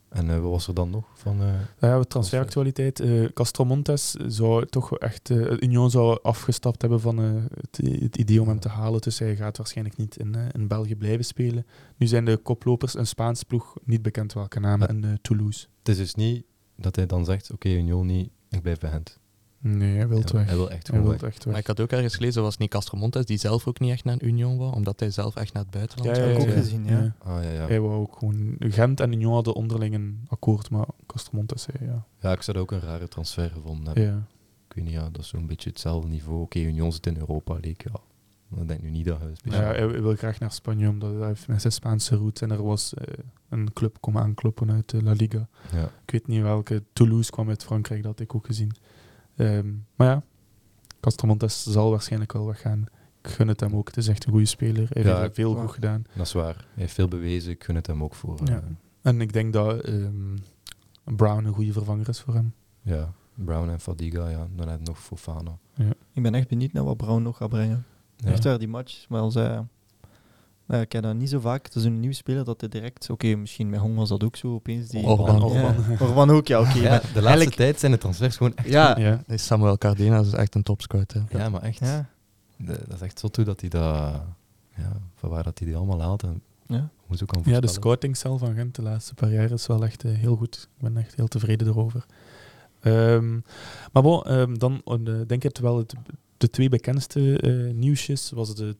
En eh, wat was er dan nog van... eh, Nou ja, transferactualiteit. eh Castromontes zou toch echt... eh Union zou afgestapt hebben van eh, het, het idee om hem te halen. Dus hij gaat waarschijnlijk niet in, eh, in België blijven spelen. Nu zijn de koplopers een Spaans ploeg. Niet bekend welke naam. Ja. En eh, Toulouse. Het is dus niet dat hij dan zegt, oké Union niet, ik blijf bij Gent. Nee, hij wil Hij- weg. Hij wil echt Hij gewoon wil weg. echt Maar weg. ik had ook ergens gelezen, was niet Castro Montes, die zelf ook niet echt naar Union wou, omdat hij zelf echt naar het buitenland ja, wou. ook gezien, ja. Ah, ja, ja. Hij wou ook gewoon... Gent en Union hadden onderling een akkoord. Maar Castromontes zei ja. ja, ik zou dat ook een rare transfer gevonden hebben. ja. Ik weet niet, ja, dat is zo'n beetje hetzelfde niveau. Oké, Union zit in Europa League, ja. Dan denk ik nu niet dat hij Dus Ja, speciaal... hij hij wil graag naar Spanje, omdat hij heeft met zijn Spaanse route. En er was eh, een club komen aankloppen uit de La Liga. Ja. Ik weet niet welke. Toulouse kwam uit Frankrijk, dat had ik ook gezien. Ehm, maar ja, Castromontes zal waarschijnlijk wel weggaan. Ik gun het hem ook. Het is echt een goede speler. Hij Ja, heeft veel waar. goed gedaan. Dat is waar. Hij heeft veel bewezen, ik gun het hem ook voor. eh, Ja. En ik denk dat ehm, Brown een goede vervanger is voor hem. ja. Brown en Fadiga, ja. Dan heb je nog Fofana. Ik ben echt benieuwd naar wat Brown nog gaat brengen. Ja. Echt waar, die match. Maar als, eh, nou, ik heb dat niet zo vaak. Het is een nieuw speler dat hij direct... Oké, misschien met Hong was dat ook zo opeens. Die, Oh, Orban. Ja, Orban. Orban ook, ja, oké. Ja, de maar laatste eigenlijk- tijd zijn de transfers gewoon echt... Ja, Ja. Samuel Cardenas is echt een topscout. Hè. Ja, maar echt. ja. de- dat is echt zot hoe dat hij dat... Ja, van waar dat hij die allemaal haalt en Ja. hoe ze ook kan Ja, de voorspellen. scoutingscel van Gent de laatste paar jaar is wel echt eh, heel goed. Ik ben echt heel tevreden erover. Ehm, maar bon, ehm, dan eh, denk ik het wel het, de twee bekendste eh, nieuwsjes was de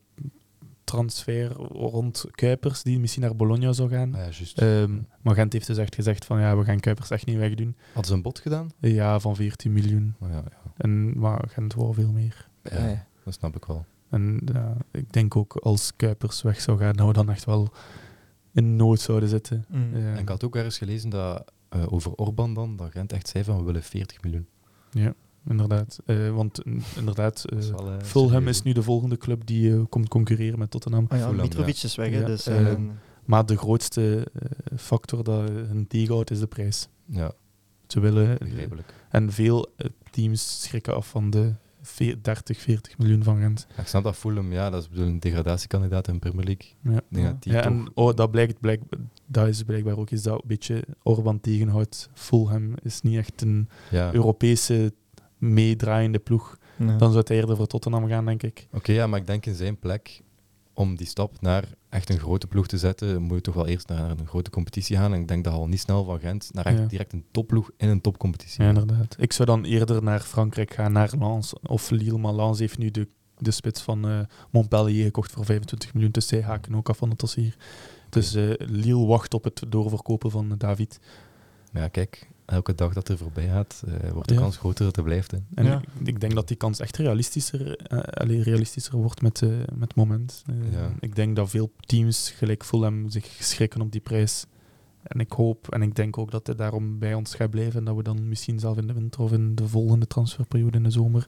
transfer rond Kuipers, die misschien naar Bologna zou gaan. Ah ja, juist. Ehm, maar Gent heeft dus echt gezegd van ja, we gaan Kuipers echt niet wegdoen. Hadden ze een bot gedaan? Eh, Ja, van 14 miljoen. Oh, ja, ja. En, maar Gent wou veel meer. Ja, Ja. dat snap ik wel. En ja, ik denk ook als Kuipers weg zou gaan, nou dan echt wel in nood zouden zitten. Mm. Ja. En ik had ook ergens gelezen dat eh, over Orban dan, dat Gent echt zei van we willen 40 miljoen. Eh, Inderdaad. Eh, want eh, inderdaad, eh, Dat is wel, eh, Fulham serieus. is nu de volgende club die eh, komt concurreren met Tottenham. Oh ja, Fulham, Mitrovic is weg, hè, Ja, dus... eh, eh, Maar de grootste eh, factor dat hun tegenhoudt is de prijs. Ja, Ze willen. eh, begrijpelijk. en veel eh, teams schrikken af van de ve- 30, 40 miljoen van Gent. Ja, ik snap dat Fulham, ja, dat is bedoel, een degradatiekandidaat in de Premier League. Ja. Ik denk Ja. dat die Ja, toch- en oh, dat, blijkt, blijk, dat is blijkbaar ook iets dat een beetje Orban tegenhoudt. Fulham is niet echt een ja. Oké, Europese meedraaiende ploeg. ja. Dan zou hij eerder voor Tottenham gaan, denk ik. ja, maar ik denk in zijn plek, om die stap naar echt een grote ploeg te zetten, moet je toch wel eerst naar een grote competitie gaan. En ik denk dat al niet snel van Gent naar echt Ja. direct een topploeg in een topcompetitie. Ja, inderdaad. Ik zou dan eerder naar Frankrijk gaan, naar Lens of Lille. Maar Lens heeft nu de, de spits van eh, Montpellier gekocht voor 25 miljoen. Dus zij haken ook af van het dossier. Dus eh, Lille wacht op het doorverkopen van eh, David. Maar ja, kijk, elke dag dat er voorbij gaat, eh, wordt de Ja. kans groter dat er blijft. Hè. En Ja. ik, ik denk dat die kans echt realistischer, eh, allee, realistischer wordt met, eh, met het moment. Eh, Ja. Ik denk dat veel teams, gelijk Fulham, zich schrikken op die prijs. En ik hoop en ik denk ook dat hij daarom bij ons gaat blijven. En dat we dan misschien zelf in de winter of in de volgende transferperiode in de zomer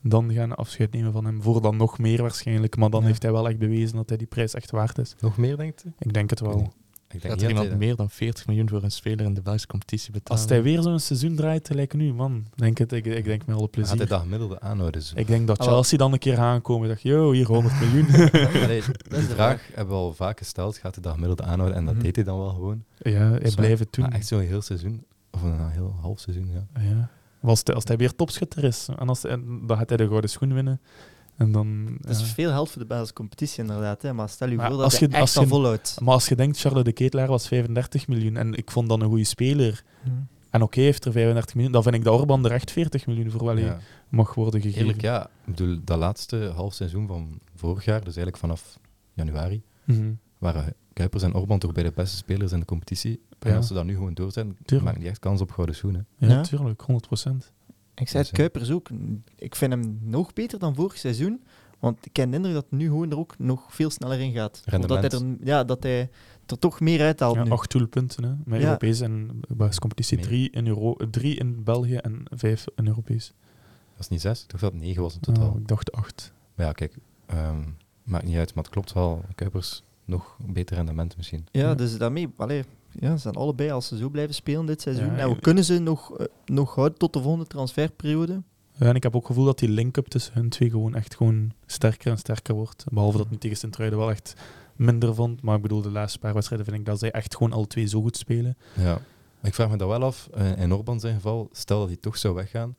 dan gaan afscheid nemen van hem. Voor dan nog meer waarschijnlijk. Maar dan Ja. heeft hij wel echt bewezen dat hij die prijs echt waard is. Nog meer, denkt u? Ik denk het wel. Ik denk Gaat niet er dat iemand hij- meer dan 40 miljoen voor een speler in de Belgische competitie betalen? eh, Als hij weer zo'n seizoen draait, lijkt nu, man. Denk het, ik, ik denk met alle Gaat hij plezier. dat gemiddelde aanhouden? Zo. Ik denk dat Ah, wel. Chelsea dan een keer aankomen. Dacht, yo, hier 100 miljoen. *laughs* *laughs* Allee, die de vraag hebben we al vaak gesteld. Gaat hij dat gemiddelde aanhouden? En dat Mhm. deed hij dan wel gewoon. Ja, hij Zo. blijft het doen. Maar Ah, Ah, echt zo'n heel seizoen. Of een heel half seizoen, ja. ja. Maar Als, hij, als hij weer topschutter is, en als, en dan gaat hij de gouden schoen winnen. En dan, Dat ja. is veel geld voor de basiscompetitie inderdaad, hè, maar stel je Maar voor dat als je je- echt als je- al volhoudt. Maar als je denkt, Charles de Ketelaar was 35 miljoen en ik vond dan een goede speler. Mm. En oké, heeft er 35 miljoen. Dan vind ik dat Orban er echt 40 miljoen voor wel ja. mag worden gegeven. Eerlijk, ja. Ik bedoel, dat laatste half seizoen van vorig jaar, dus eigenlijk vanaf januari, Mhm. waren Kuipers en Orban toch bij de beste spelers in de competitie. En Ja. als ze dat nu gewoon door zijn, Tuurlijk. maakt niet echt kans op gouden schoenen. ja, Ja. tuurlijk, 100 procent. Ik zei het, Dus, ja. Kuipers ook. Ik vind hem nog beter dan vorig seizoen. Want ik ken de indruk dat hij nu gewoon er ook nog veel sneller in gaat. Rendement. Omdat hij er, ja, dat hij er toch meer uithaalt nu. acht doelpunten, hè, met Ja. Europees en basiscompetitie. Nee. Drie in, Euro drie in België en vijf in Europees. Dat is niet zes, ik dacht dat het negen was in totaal. Oh, ik dacht acht. Maar ja, kijk, ehm, maakt niet uit, maar het klopt wel. Kuipers nog beter rendement misschien. Ja, Ja. dus daarmee... Allee, ja, ze zijn allebei, als ze zo blijven spelen dit seizoen... Ja, en we ik- kunnen ze nog, eh, nog houden tot de volgende transferperiode. Ja, en ik heb ook het gevoel dat die link-up tussen hun twee gewoon echt gewoon sterker en sterker wordt. Behalve dat ik nu tegen Sint-Truiden wel echt minder vond. Maar ik bedoel, de laatste paar wedstrijden vind ik dat zij echt gewoon alle twee zo goed spelen. Ja. Ik vraag me dat wel af, eh, in Orban zijn geval, stel dat hij toch zou weggaan,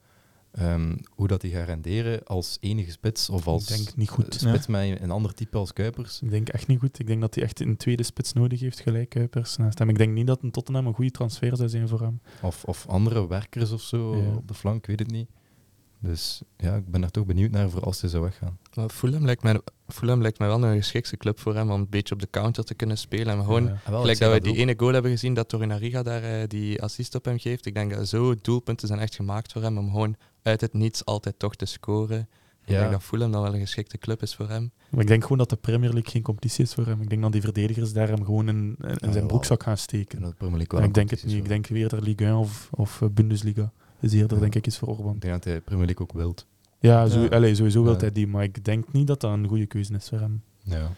ehm, hoe dat hij gaat renderen als enige spits of als Ik denk niet eh, goed. spits met een ander type als Kuipers. Ik denk echt niet goed. Ik denk dat hij echt een tweede spits nodig heeft, gelijk Kuipers naast hem. Ik denk niet dat een Tottenham een goede transfer zou zijn voor hem. Of, of andere werkers of zo Ja. op de flank, ik weet het niet. Dus ja, ik ben daar toch benieuwd naar voor als hij zou weggaan. Maar Fulham lijkt, mij, Fulham lijkt mij wel een geschikte club voor hem om een beetje op de counter te kunnen spelen. En gewoon, Ah, Ja. Oh, gelijk dat we die ene goal hebben gezien dat Torunariga daar eh, die assist op hem geeft. Ik denk dat zo doelpunten zijn echt gemaakt voor hem om gewoon uit het niets altijd toch te scoren. Ik denk Ja, dat Fulham dan wel een geschikte club is voor hem. Maar ik denk gewoon dat de Premier League geen competitie is voor hem. Ik denk dat die verdedigers daar hem gewoon in, in zijn jawel. broekzak gaan steken. kunnen dat Premier League wel En ik een denk het competitie niet. Ik zo. denk weer dat Ligue 1 of, of eh, Bundesliga is eerder, Ja. denk ik, iets voor Orban. Ik denk dat hij Premier League ook wilt. Ja, zo, Ja. allee, sowieso wil Ja. hij die, maar ik denk niet dat dat een goede keuze is voor hem. Ja.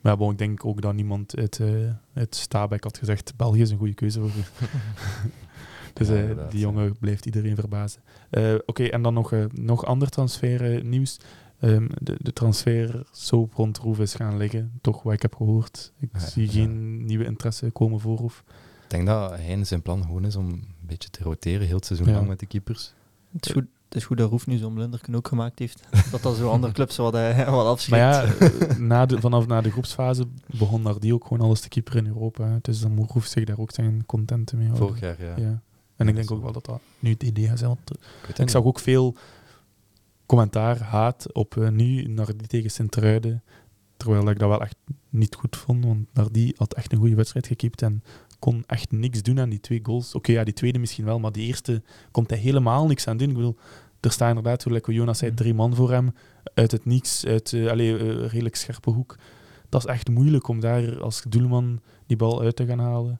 Maar bon, ik denk ook dat niemand uit, eh uit Stabek had gezegd, België is een goede keuze voor *laughs* u. *laughs* dus Ja, eh, inderdaad, die ja. jongen blijft iedereen verbazen. Eh, Oké, en dan nog, eh, nog ander transfernieuws. Ehm, de, de transfer zo rond Roef is gaan liggen, toch wat ik heb gehoord. Ik Ja, zie ja. geen nieuwe interesse komen voor Roef. Ik denk dat hij zijn plan gewoon is om een beetje te roteren heel het seizoen Ja. lang met de keepers. Het is goed, het Het is goed dat Roef nu zo'n blunderken ook gemaakt heeft. *laughs* Dat dat zo andere clubs wat, eh, *laughs* wat Maar afschrikt. ja, *laughs* eh, na de, vanaf na de groepsfase begon Nardi ook gewoon alles te keeperen in Europa. hè. Dus dan moet Roef zich daar ook zijn contenten mee houden. Vorig jaar, ja. Ja. En ik denk ook wel dat dat nu het idee is. hè, want Ik, weet dat Ik zag niet. ook veel commentaar, haat op eh, nu naar die tegen Sint-Truiden. Terwijl ik dat wel echt niet goed vond, want naar die had echt een goede wedstrijd gekiept en kon echt niks doen aan die twee goals. Oké, ja, die tweede misschien wel, maar die eerste komt hij helemaal niks aan doen. Ik bedoel, er staan inderdaad, hoe lekker Jonas zei, drie man voor hem uit het niets, uit eh, allee, eh, een redelijk scherpe hoek. Dat is echt moeilijk om daar als doelman die bal uit te gaan halen.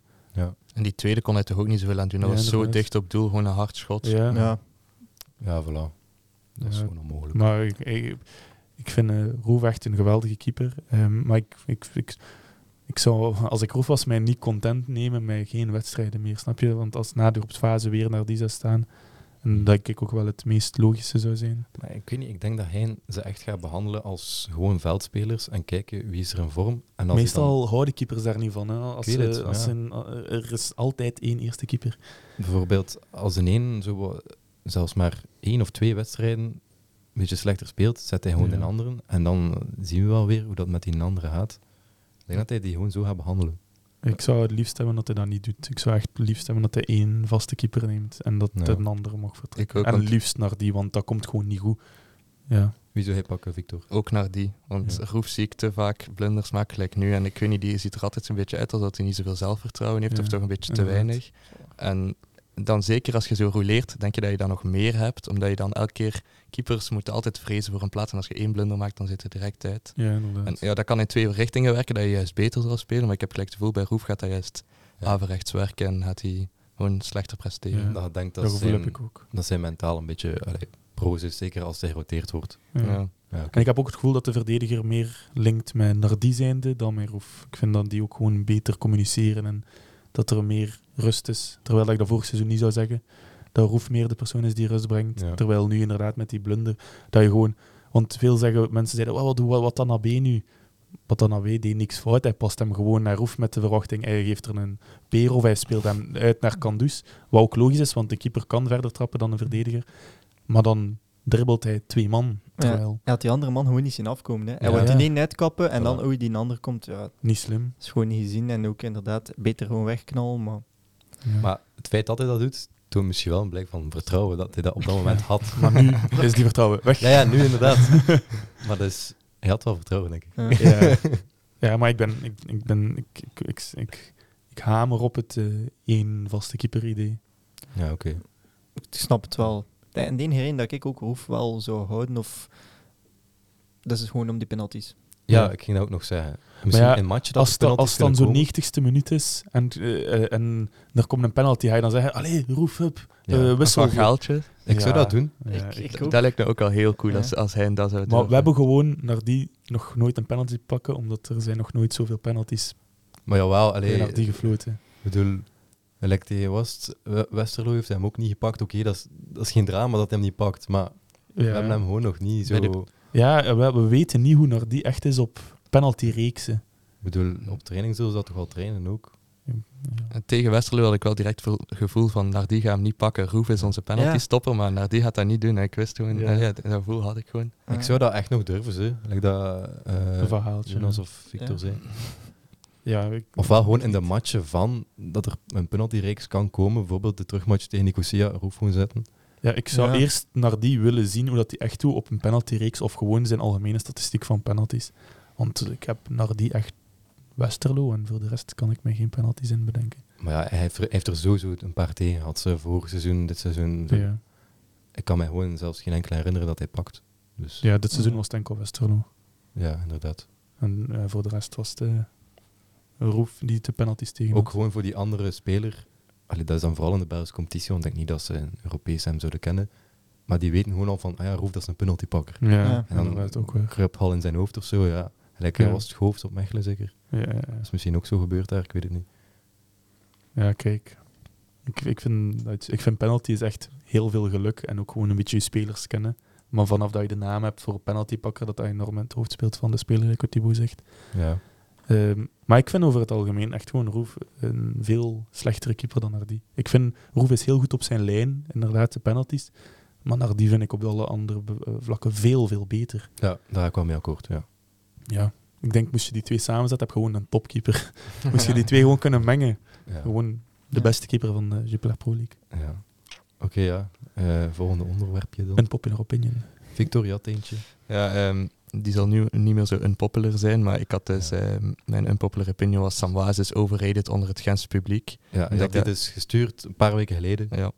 En die tweede kon hij toch ook niet zoveel aan doen. Dat Ja, was zo inderdaad. dicht op doel, gewoon een hard schot. Ja. Ja. Ja, voilà. Dat is Ja, gewoon onmogelijk. Maar ik, ik, ik vind eh Roef echt een geweldige keeper. Ehm, maar ik, ik, ik, ik zou, als ik Roef was, mij niet content nemen met geen wedstrijden meer. Snap je? Want als na de groepsfase weer naar die zou staan, Hmm. en dat ik ook wel het meest logische zou zijn. Maar ik weet niet, ik denk dat hij ze echt gaat behandelen als gewoon veldspelers en kijken wie is er in vorm. En als hij Meestal houden keepers daar niet van. Hè? Als, Ik weet het, eh, als ja. een, er is altijd één eerste keeper. dan bijvoorbeeld als een één zo, wat- zelfs maar één of twee wedstrijden een beetje slechter speelt, zet hij gewoon Ja. een andere. En dan zien we wel weer hoe dat met die andere gaat. Ik denk dat hij die gewoon zo gaat behandelen. Ik zou het liefst hebben dat hij dat niet doet. Ik zou echt het liefst hebben dat hij één vaste keeper neemt en dat Ja. een andere mag vertrekken. Ik ook, en want- liefst naar die, want dat komt gewoon niet goed. Ja. Wie zou hij pakken, Victor? Ook naar die. Want Ja. Roef zie ik te vaak blunders maken gelijk nu. En ik weet niet, die ziet er altijd een beetje uit alsof hij niet zoveel zelfvertrouwen heeft. Ja, Of toch een beetje te inderdaad. weinig. En dan zeker als je zo rouleert, denk je dat je dan nog meer hebt. Omdat je dan elke keer... Keepers moeten altijd vrezen voor een plaats. En als je één blunder maakt, dan zit er direct uit. ja, inderdaad. En ja, dat kan in twee richtingen werken, dat je juist beter zal spelen. Maar ik heb gelijk het gevoel, bij Roef gaat hij juist Ja. averechts werken en gaat hij gewoon slechter presteren. Ja. Dat, ik denk dat, Dat gevoel zijn, heb ik ook. dat zijn mentaal een beetje allee, proos is, zeker als hij geroteerd wordt. Ja. Ja. Ja, En ik heb ook het gevoel dat de verdediger meer linkt met Nardi zijnde dan met Roef. Ik vind dat die ook gewoon beter communiceren en dat er meer rust is. Terwijl ik dat vorig seizoen niet zou zeggen. Dat Roef meer de persoon is die rust brengt. Ja. Terwijl nu inderdaad met die blunder, dat je gewoon... Want veel zeggen, mensen zeiden, "Wel, wat, doe- wat, wat dan AB nu? Wat dan AB deed niks fout. Hij past hem gewoon naar Roef met de verwachting. Hij geeft er een peer of hij speelt hem uit naar Kandus. Wat ook logisch is, want de keeper kan verder trappen dan een verdediger. Maar dan dribbelt hij twee man. Terwijl... Hij had die andere man gewoon niet zien afkomen. Hè. Hij Ja. wordt Ja. die één net kappen en dan, Voilà. oei, die ander komt. Ja, Niet slim. dat is gewoon niet gezien. En ook inderdaad, beter gewoon wegknallen. Maar Maar het feit dat hij dat doet, toont misschien wel een blijk van vertrouwen dat hij dat op dat moment had. *laughs* Maar nu is die vertrouwen weg. ja, ja, nu inderdaad. *laughs* maar dus, hij had wel vertrouwen, denk ik. ja. Ja, *laughs* ja maar ik ben... Ik, ik, ben ik, ik, ik, ik, ik hamer op het eh, één vaste keeper-idee. Ja, oké. ik snap het wel. En de enige reden dat ik ook hoef wel zou houden, of... Dat is gewoon om die penalties. Ja, Ja. ik ging dat ook nog zeggen. Misschien ja, een match dat Als, er da- penalties als het dan kunnen komen. zo'n 90ste minuut is en, eh, eh, en er komt een penalty, ga je dan zeggen... Allee, roef, up, eh, Ja. Een wissel. Van Gaaltje, Ik zou Ja. dat doen. Ja, Ik- ik- ik- ook. dat lijkt me ook al heel cool Ja. als, als hij dat zou maar doen. we hebben gewoon naar die nog nooit een penalty pakken, omdat er zijn nog nooit zoveel penalties Maar jawel, tegen naar alleen, die ik gefloten. bedoel, like tegen West, We- Westerlo heeft hem ook niet gepakt. Oké, dat, is, dat is geen drama dat hij hem niet pakt, maar we hebben hem Ja, gewoon nog niet zo... Bij Ik de- ja eh, we, we weten niet hoe naar die echt is op penalty-reeksen. bedoel, op training zullen ze dat toch wel trainen ook? Ja. En Tegen Westerlo had ik wel direct het gevoel van, naar die gaan hem niet pakken. Roef is onze penalty Ja. stopper, maar naar die gaat dat niet doen. En ik wist gewoon, Ja. eh, ja, dat gevoel had ik gewoon. Ah, Ik zou dat echt nog durven, ze. Like dat Een eh verhaaltje. Jonas of Victor Ja. zei. Ja, ik- Ofwel gewoon in de matchen van dat er een penaltyreeks kan komen. Bijvoorbeeld de terugmatch tegen Nicosia, Roef gewoon zetten. Ja, ik zou Ja. eerst naar die willen zien hoe dat die echt doet op een penaltyreeks of gewoon zijn algemene statistiek van penalties. Want ik heb naar die echt Westerlo en voor de rest kan ik me geen penalties in bedenken. Maar ja, hij heeft, er- hij heeft er sowieso een paar tegen gehad. ze, Vorig seizoen, dit seizoen. zo. Ja, Ik kan mij gewoon zelfs geen enkele herinneren dat hij pakt. Dus ja, ja dit seizoen was het enkel Westerlo. inderdaad. En eh, voor de rest was het eh, Roef die de penalties tegen Ook had. gewoon voor die andere speler. Allee, dat is dan vooral in de Belgische competitie, want ik denk niet dat ze in Europees hem zouden kennen. Maar die weten gewoon al van, ah ja, Roef, dat is een penaltypakker. Ja, Ja. En dan- inderdaad ook weer. Kruip hal in zijn hoofd of zo, ja. Lekker Ja. was het hoofd op Mechelen zeker. Ja, ja, ja. Dat is misschien ook zo gebeurd daar, ik weet het niet. Ja, kijk. Ik, ik, vind, dat- ik vind penalties echt heel veel geluk en ook gewoon een beetje je spelers kennen. Maar vanaf dat je de naam hebt voor een penaltypakker, dat dat enorm in het hoofd speelt van de speler, die Cotibo zegt. Ja. Ehm, maar ik vind over het algemeen echt gewoon Roef een veel slechtere keeper dan Hardy. Ik vind Roef is heel goed op zijn lijn, inderdaad, de penalties. Maar Nardi vind ik op alle andere be- eh, vlakken veel, veel beter. Ja, daar ga ik wel mee akkoord. Ja. Ja. Ik denk, moest je die twee samenzetten, heb je gewoon een topkeeper. moest je die twee gewoon kunnen mengen. Ja. Gewoon de Ja. beste keeper van de Jupiler Pro League. Ja. Oké, ja. Eh, volgende onderwerpje dan. Een popular opinion. Victor, je had eentje. Ja, ehm, die zal nu niet meer zo unpopular zijn, maar ik had dus... Ja. ehm, mijn unpopular opinion was Samwaas is overrated onder het Gentse publiek. Ja, en Ja, dat dit ja. is gestuurd een paar weken geleden. Ja.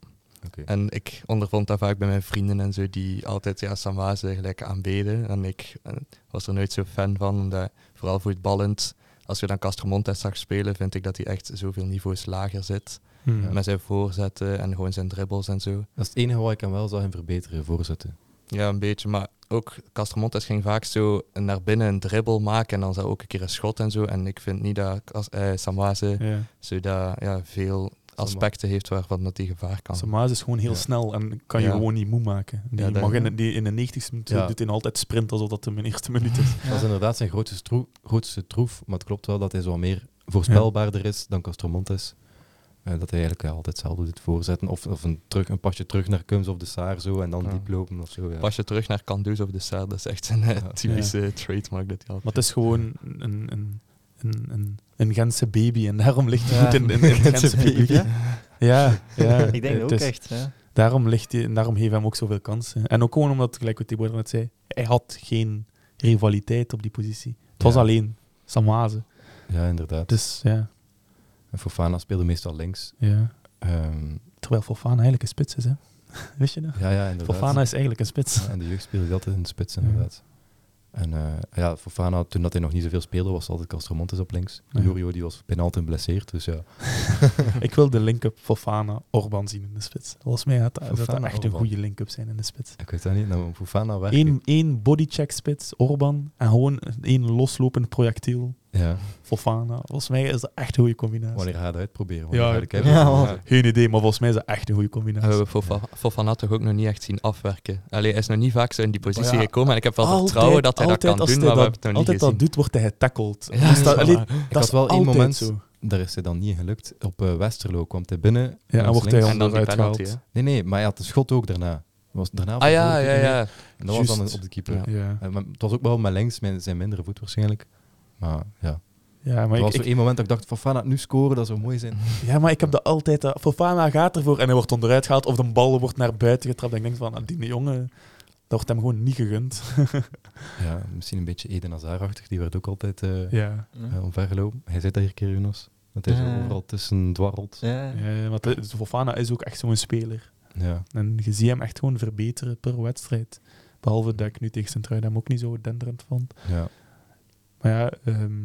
Oké. En ik ondervond dat vaak bij mijn vrienden en zo, die altijd ja, Samwaas gelijk aanbeden. En ik eh, was er nooit zo fan van, omdat vooral voetballend, als we dan Castromontes zag spelen, vind ik dat hij echt zoveel niveaus lager zit. Ja. Met zijn voorzetten en gewoon zijn dribbles en zo. Dat is het enige wat ik hem wel zou hem verbeteren, voorzetten. Ja, een beetje. Maar ook Castromontes ging vaak zo naar binnen een dribbel maken en dan zou ook een keer een schot en zo. En ik vind niet dat Cas- eh, *laughs* Samwaze Ja. zo dat, ja, veel aspecten heeft waarvan dat hij gevaar kan. Samaas is gewoon heel Ja. snel en kan je Ja. gewoon niet moe maken. Die, Ja, dat- mag in, de- die in de 90ste minuut Ja. doet hij altijd sprint alsof dat hem in de eerste minuut is. Dat is inderdaad zijn grootste, stroe- grootste troef, maar het klopt wel dat hij zo wat meer voorspelbaarder is dan Castromontes. Eh, dat hij eigenlijk ja, altijd hetzelfde doet voorzetten. Of, of een, terug, een pasje terug naar Kums of de Saar zo en dan Ja. diep lopen of zo. Ja. Pas je terug naar Candus of de Serre, dat is echt een eh, Ja. *laughs* typische trademark dat hij had. Maar het is gewoon een, een, een, een, een Gentse baby en daarom ligt hij Ja. goed in, in, in het Gentse Gentse publiek. baby, ja? Ja, ja. Ik denk Het dat ook is- echt. Ja. Daarom, ligt hij, en daarom geven hem ook zoveel kansen. En ook gewoon omdat, gelijk wat Thibaut net zei, hij had geen rivaliteit op die positie. Het was Ja. alleen Samaze. ja, inderdaad. Dus ja, En Fofana speelde meestal links. ja. Ehm, Terwijl Fofana eigenlijk een spits is, hè. *laughs* Wist je dat? ja, ja, inderdaad. Fofana is eigenlijk een spits. Ja, in de jeugd speelde hij altijd in de spits, Ja. inderdaad. En eh, ja, Fofana, toen dat hij nog niet zoveel speelde, was altijd Castromontes op links. Ja. Nurio die was bijna altijd geblesseerd, dus ja. *laughs* Ik wil de link-up Fofana Orban zien in de spits. Volgens mij gaat dat, dat dat Fofana, echt een Orban. goede link-up zijn in de spits. Ik weet dat niet, nou, Fofana werkt. Eén, één bodycheck spits, Orban, en gewoon één loslopend projectiel, Ja, Fofana. Volgens mij is dat echt een goede combinatie. wanneer ga je dat uitproberen? Ja, Wanneer *laughs* ga je de kijkers- ja, want- Ja. Eh, Geen idee, maar volgens mij is dat echt een goede En we combinatie. hebben Fofa- Fofana toch ook nog niet echt zien afwerken. Allee, hij is nog niet vaak zo in die positie Oh, Ja, gekomen. En ik heb wel vertrouwen dat hij dat altijd kan als doen, hij maar we dat- hebben het nog niet Altijd gezien. dat doet, wordt hij getackled. Ja, Dus dat, voilà. allee, Ik dat had is wel één altijd moment, zo. daar is hij dan niet in gelukt. Op eh, Westerlo kwam hij binnen. Ja, en langs wordt hij links. En dan die onderuit penalty, gehaald. Nee, nee, maar hij had een schot ook daarna. Was daarna op de Ah ja, voorkeur ja, niet. ja. En dat was dan Juist. op de keeper. Ja. Ja. Eh, maar het was ook wel met links, mijn, zijn mindere voet waarschijnlijk. Maar ja, Ja, maar er ik, was er ik- één moment dat ik dacht, Fofana, nu scoren, dat zou mooi *laughs* zijn. ja, maar ik heb dat altijd. eh, Fofana gaat ervoor en hij wordt onderuit gehaald of de bal wordt naar buiten getrapt. En ik denk van, ah, die jongen, dat wordt hem gewoon niet gegund. Ja, misschien een beetje Eden Hazard-achtig. Die werd ook altijd eh Ja. eh, omvergelopen. Hij zei dat hier een keer, Jonas. Dat hij zo Ja. overal tussen dwarrelt. Ja. Ja, want de- Fofana is ook echt zo'n speler. Ja. En je ziet hem echt gewoon verbeteren per wedstrijd. Behalve dat ik nu tegen Sint-Truiden hem ook niet zo denderend vond. ja. Maar ja, ehm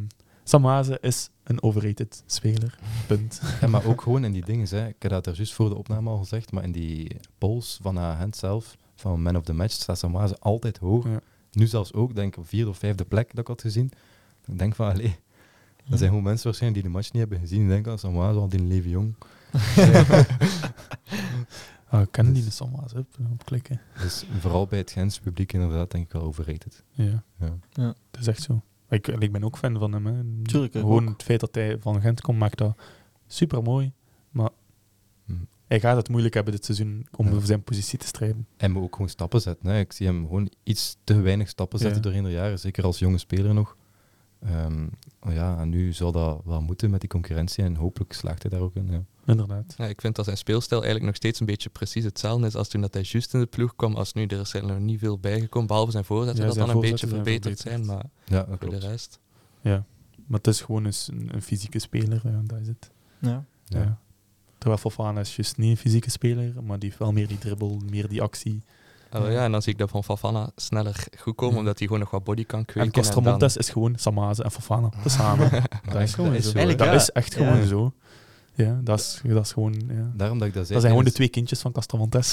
Samaze is een overrated speler. Punt. Ja, maar ook gewoon in die dingen. Hè. Ik had dat er juist voor de opname al gezegd, maar in die polls van haar hand zelf, van Man of the Match, staat Samaze altijd hoog. Ja. Nu zelfs ook, denk ik, op vierde of vijfde plek dat ik had gezien. Ik denk van, allee, dat zijn gewoon mensen waarschijnlijk die de match niet hebben gezien. Die denken, ah, Samaze al die leven jong. Ah, ik ken die de Samaze op, op klikken. Dus vooral bij het Gens publiek inderdaad, denk ik wel overrated. Ja, Ja. dat is echt zo. Ik, ik ben ook fan van hem. Hè. Tuurlijk, ik Gewoon ook. het feit dat hij van Gent komt maakt dat super mooi. Maar Hm. hij gaat het moeilijk hebben dit seizoen om Ja. voor zijn positie te strijden. En moet ook gewoon stappen zetten. Hè. Ik zie hem gewoon iets te weinig stappen zetten Ja. doorheen de jaren, zeker als jonge speler nog. Ehm, ja, en nu zal dat wel moeten met die concurrentie en hopelijk slaagt hij daar ook in. Ja. Inderdaad. Ja, ik vind dat zijn speelstijl eigenlijk nog steeds een beetje precies hetzelfde is als toen dat hij juist in de ploeg kwam. Als nu, er is eigenlijk nog niet veel bijgekomen, behalve zijn voorzetten, Ja, dat zijn dan een beetje voorzetten zijn verbeterd zijn. Maar Ja, dat voor klopt. de rest... Maar het is gewoon eens een, een fysieke speler. Ja, dat is het. Ja. Ja. Ja. Terwijl Fofana is juist niet een fysieke speler, maar die heeft wel meer die dribbel, meer die actie. Oh ja, en dan zie ik dat van Fafana sneller goed komen, Ja. omdat hij gewoon nog wat body kan kweken. en Castromontes is gewoon Samaze en Fofana tezamen. dat is gewoon dat is zo. zo, Dat Eigenlijk ja. is echt gewoon Ja. zo. Ja, dat is, dat is gewoon... Ja. Daarom dat ik dat zei. Dat zijn gewoon de tijdens- twee kindjes van Castromontes.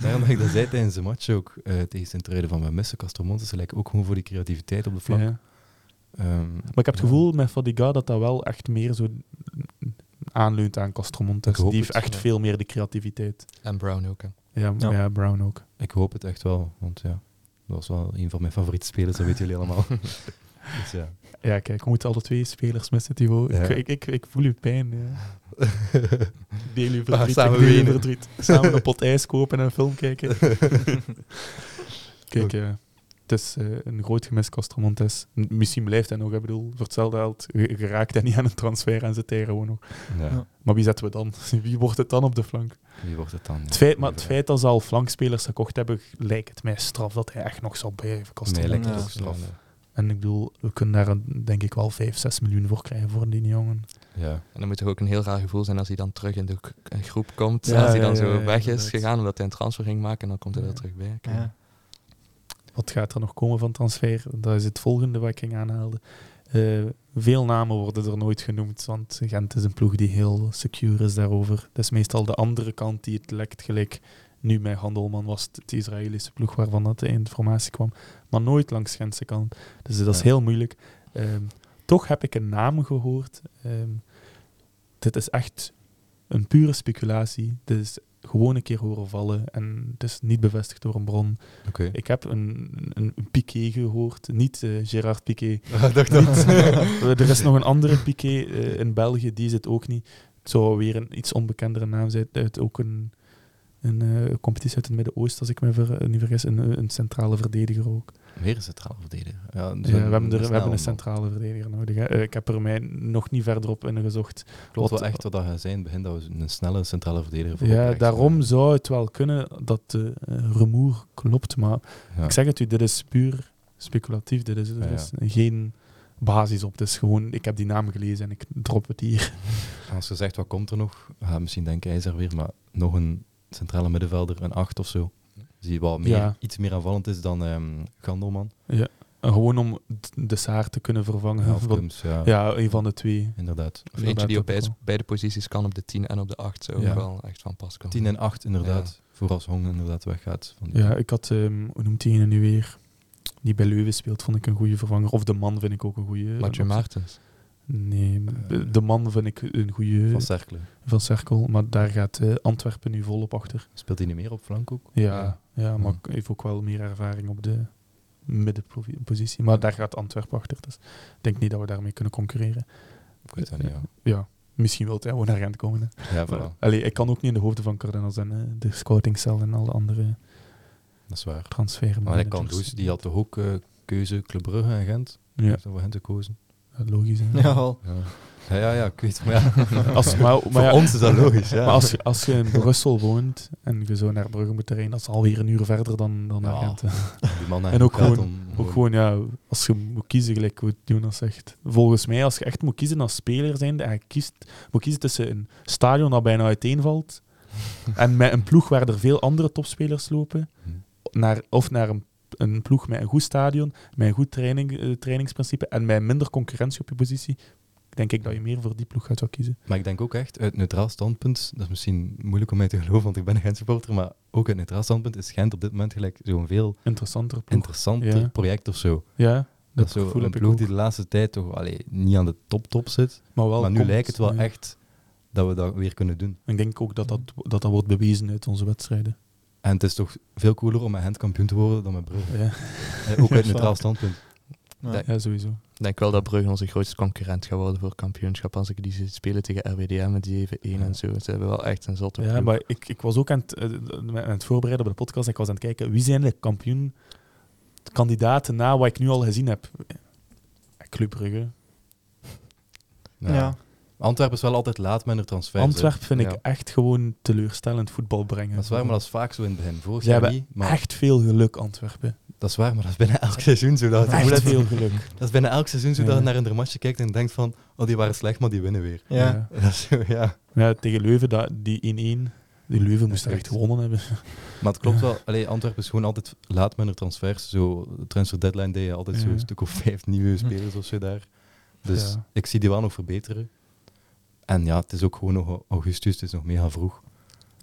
Daarom dat ik dat zei tijdens de match ook eh, tegen Sint-Truiden van mijn missen Castromontes. Ze lijken ook gewoon voor die creativiteit op de vlak. Ja. Ehm, Maar ik heb het ja. gevoel met Fadiga dat dat wel echt meer zo aanleunt aan Castromontes. Ik hoop Die heeft het, echt ja. veel meer de creativiteit. En Brown ook. hè. Ja, Ja. ja. Brown ook. Ik hoop het echt wel, want ja, dat was wel een van mijn favoriete spelers, dat weten jullie *laughs* allemaal. dus ja. Ja, kijk, we moeten alle twee spelers missen, Thibaut. Ja. *laughs* Ik, ik, ik, ik voel uw pijn. Ja. Deel Ah, uw Waar verdriet. ik staan we deel uw wenen? verdriet. Samen een pot ijs kopen en een film *laughs* kijken. Kijk, eh, het is eh, een groot gemis, Castromontes. M- Misschien blijft hij nog. Ik bedoel, voor hetzelfde geld je- je raakt hij niet aan een transfer en zit hij gewoon nog. Ja. Ja. Maar wie zetten we dan? *laughs* Wie wordt het dan op de flank? Wie wordt het dan? Het feit, maar het feit dat ze al flankspelers gekocht hebben, lijkt het mij straf dat hij echt nog zal blijven, Nee, Castromontes. lijkt het Ja. ook straf. Ja, En ik bedoel, we kunnen daar een- denk ik wel 5, 6 miljoen voor krijgen voor die jongen. eh, Ja. En dan moet het ook een heel raar gevoel zijn als hij dan terug in de k- groep komt. Ja, als hij dan ja, zo ja, ja, weg is inderdaad. gegaan omdat hij een transfer ging maken en dan komt hij Ja. er terug bij. Ja. Wat gaat er nog komen van transfer? Dat is het volgende wat ik ging aanhalen. Eh, veel namen worden er nooit genoemd, want Gent is een ploeg die heel secure is daarover. Dat is meestal de andere kant die het lekt, gelijk nu met Handelman was het de Israëlische ploeg waarvan dat de informatie kwam, maar nooit langs Gentse kant. Dus dat is Ja. heel moeilijk. Ehm, toch heb ik een naam gehoord. Ehm, dit is echt een pure speculatie. Dit is gewoon een keer horen vallen en het is niet bevestigd door een bron. Oké. Ik heb een, een, een Piqué gehoord, niet eh Gerard Piqué. Ah, *laughs* dacht dat. Niet, Eh, *laughs* er is nog een andere Piqué eh, in België, die zit ook niet. Het zou weer een iets onbekendere naam zijn. Uit ook een, een eh, competitie uit het Midden-Oosten, als ik me ver- niet vergis. Een, eh, een centrale verdediger ook. Weer een centraal verdediger. Ja, dus Ja, we hebben, er, we hebben een centrale verdediger nodig. hè. Eh, ik heb er mij nog niet verder op ingezocht. Klopt Wat- wel echt wat dat gaat zijn. Begin dat we een snelle centrale verdediger voor op Ja, rechts daarom hebben. zou het wel kunnen dat de eh, rumoer klopt, maar Ja. Ik zeg het u, dit is puur speculatief. Dit is, er Ja, ja. is geen basis op. Het is gewoon, ik heb die naam gelezen en ik drop het hier. Als je zegt, wat komt er nog? Ja, misschien denkt hij er weer, maar nog een centrale middenvelder, een 8 of zo. Die wel meer, Ja. iets meer aanvallend is dan ehm Gandelman. En gewoon om d- de Saar te kunnen vervangen. Ja, of Want- Kums, ja, ja, een van de twee. inderdaad. Of eentje die Inderdaad, op beide, dat beide posities kan, op de 10 en op de 8, zo Ja. wel echt van pas komen. 10 en 8 inderdaad, voor als Hong inderdaad weggaat. Van die- Ja, ik had, ehm, hoe noemt die ene nu weer? Die bij Leuven speelt, vond ik een goede vervanger. Of de man vind ik ook een goede. Mathieu Maartens. Nee, de man vind ik een goede Van Cerkelen. van Cerkel. Maar daar gaat eh, Antwerpen nu volop achter. Speelt hij niet meer op flank ook? Ja, ja maar Hmm. ik heeft ook wel meer ervaring op de middenpositie. Maar daar gaat Antwerpen achter. Dus ik denk niet dat we daarmee kunnen concurreren. Ik weet dat niet, ja. Ja, misschien wil hij gewoon naar Gent komen. Hè. *laughs* Ja, voilà. Allee, ik kan ook niet in de hoofden van Cardenas en eh, de scoutingcel en alle andere Dat is waar. Maar transfermanagers. ik kan dus, die had toch ook eh, keuze Club Brugge en Gent? Ja, Heeft dan voor hen gekozen? logisch. hè. Jawel. Ja. Ja, ja, ja, ik weet het. Maar ja. Als, maar, maar *laughs* voor ja, ons is dat logisch, ja. Maar als je, als je in Brussel woont en je zo naar Brugge moet rijden, dat is alweer een uur verder dan, dan naar Ja. Gent. hè. Die man naar En ook hem gaat gewoon- om- Ook gewoon, ja, als je moet kiezen, gelijk wat Jonas zegt. Volgens mij, als je echt moet kiezen als speler zijnde, en je kiest, moet kiezen tussen een stadion dat bijna uiteenvalt, *laughs* en met een ploeg waar er veel andere topspelers lopen, Hm. naar, of naar een, een ploeg met een goed stadion, met een goed training, eh, trainingsprincipe, en met minder concurrentie op je positie, denk ik dat je meer voor die ploeg gaat zou kiezen. Maar ik denk ook echt, uit neutraal standpunt, dat is misschien moeilijk om mij te geloven, want ik ben een Gent-supporter, maar ook uit neutraal standpunt is Gent op dit moment gelijk zo'n veel Interessanter ploeg. interessanter Ja. project of zo. ja, Dat dat, is zo gevoel een heb ik ploeg ook. die de laatste tijd toch allee, niet aan de top-top zit, Maar, wel maar nu komt, lijkt het wel ja. echt dat we dat weer kunnen doen. Ik denk ook dat dat, dat dat wordt bewezen uit onze wedstrijden. En het is toch veel cooler om met Gent kampioen te worden dan met Brugge. *laughs* Ja, Eh, ook uit Ja, neutraal waar. standpunt. Ja. ja sowieso. Ik denk wel dat Brugge onze grootste concurrent gaat worden voor kampioenschap. Als ik die zie spelen tegen RWDM met die even 1 Ja. en zo. Ze hebben wel echt een zotte Ja, ploeg. maar ik, ik was ook aan het, eh, aan het voorbereiden op de podcast. Ik was aan het kijken wie zijn de kampioen kandidaten na wat ik nu al gezien heb. Eh, Club Brugge. Ja. Ja. Antwerpen is wel altijd laat met hun transfer. Antwerpen vind ik Ja. echt gewoon teleurstellend voetbal brengen. Dat is waar, maar dat is vaak zo in het begin. Vorig Ze jaar hebben niet, maar echt veel geluk, Antwerpen. dat is waar, maar dat is bijna elk seizoen zo. Dat, het gevoel Echt hebt- veel geluk. dat is bijna elk seizoen zo dat Ja. je naar een matchje kijkt en denkt van, oh die waren slecht, maar die winnen weer. *laughs* Ja. Dat is zo, *laughs* ja. Ja, tegen Leuven, dat, die 1-1. Die Leuven moest daar echt klopt. gewonnen hebben. Maar het klopt wel, allee, Antwerpen is gewoon altijd laat met hun transfers. Zo, de transfer deadline deed je altijd Ja. Hm. zo'n stuk of vijf nieuwe spelers of zo daar. Dus Ja. ik zie die wel nog verbeteren. En ja, het is ook gewoon nog augustus, het is nog mega vroeg.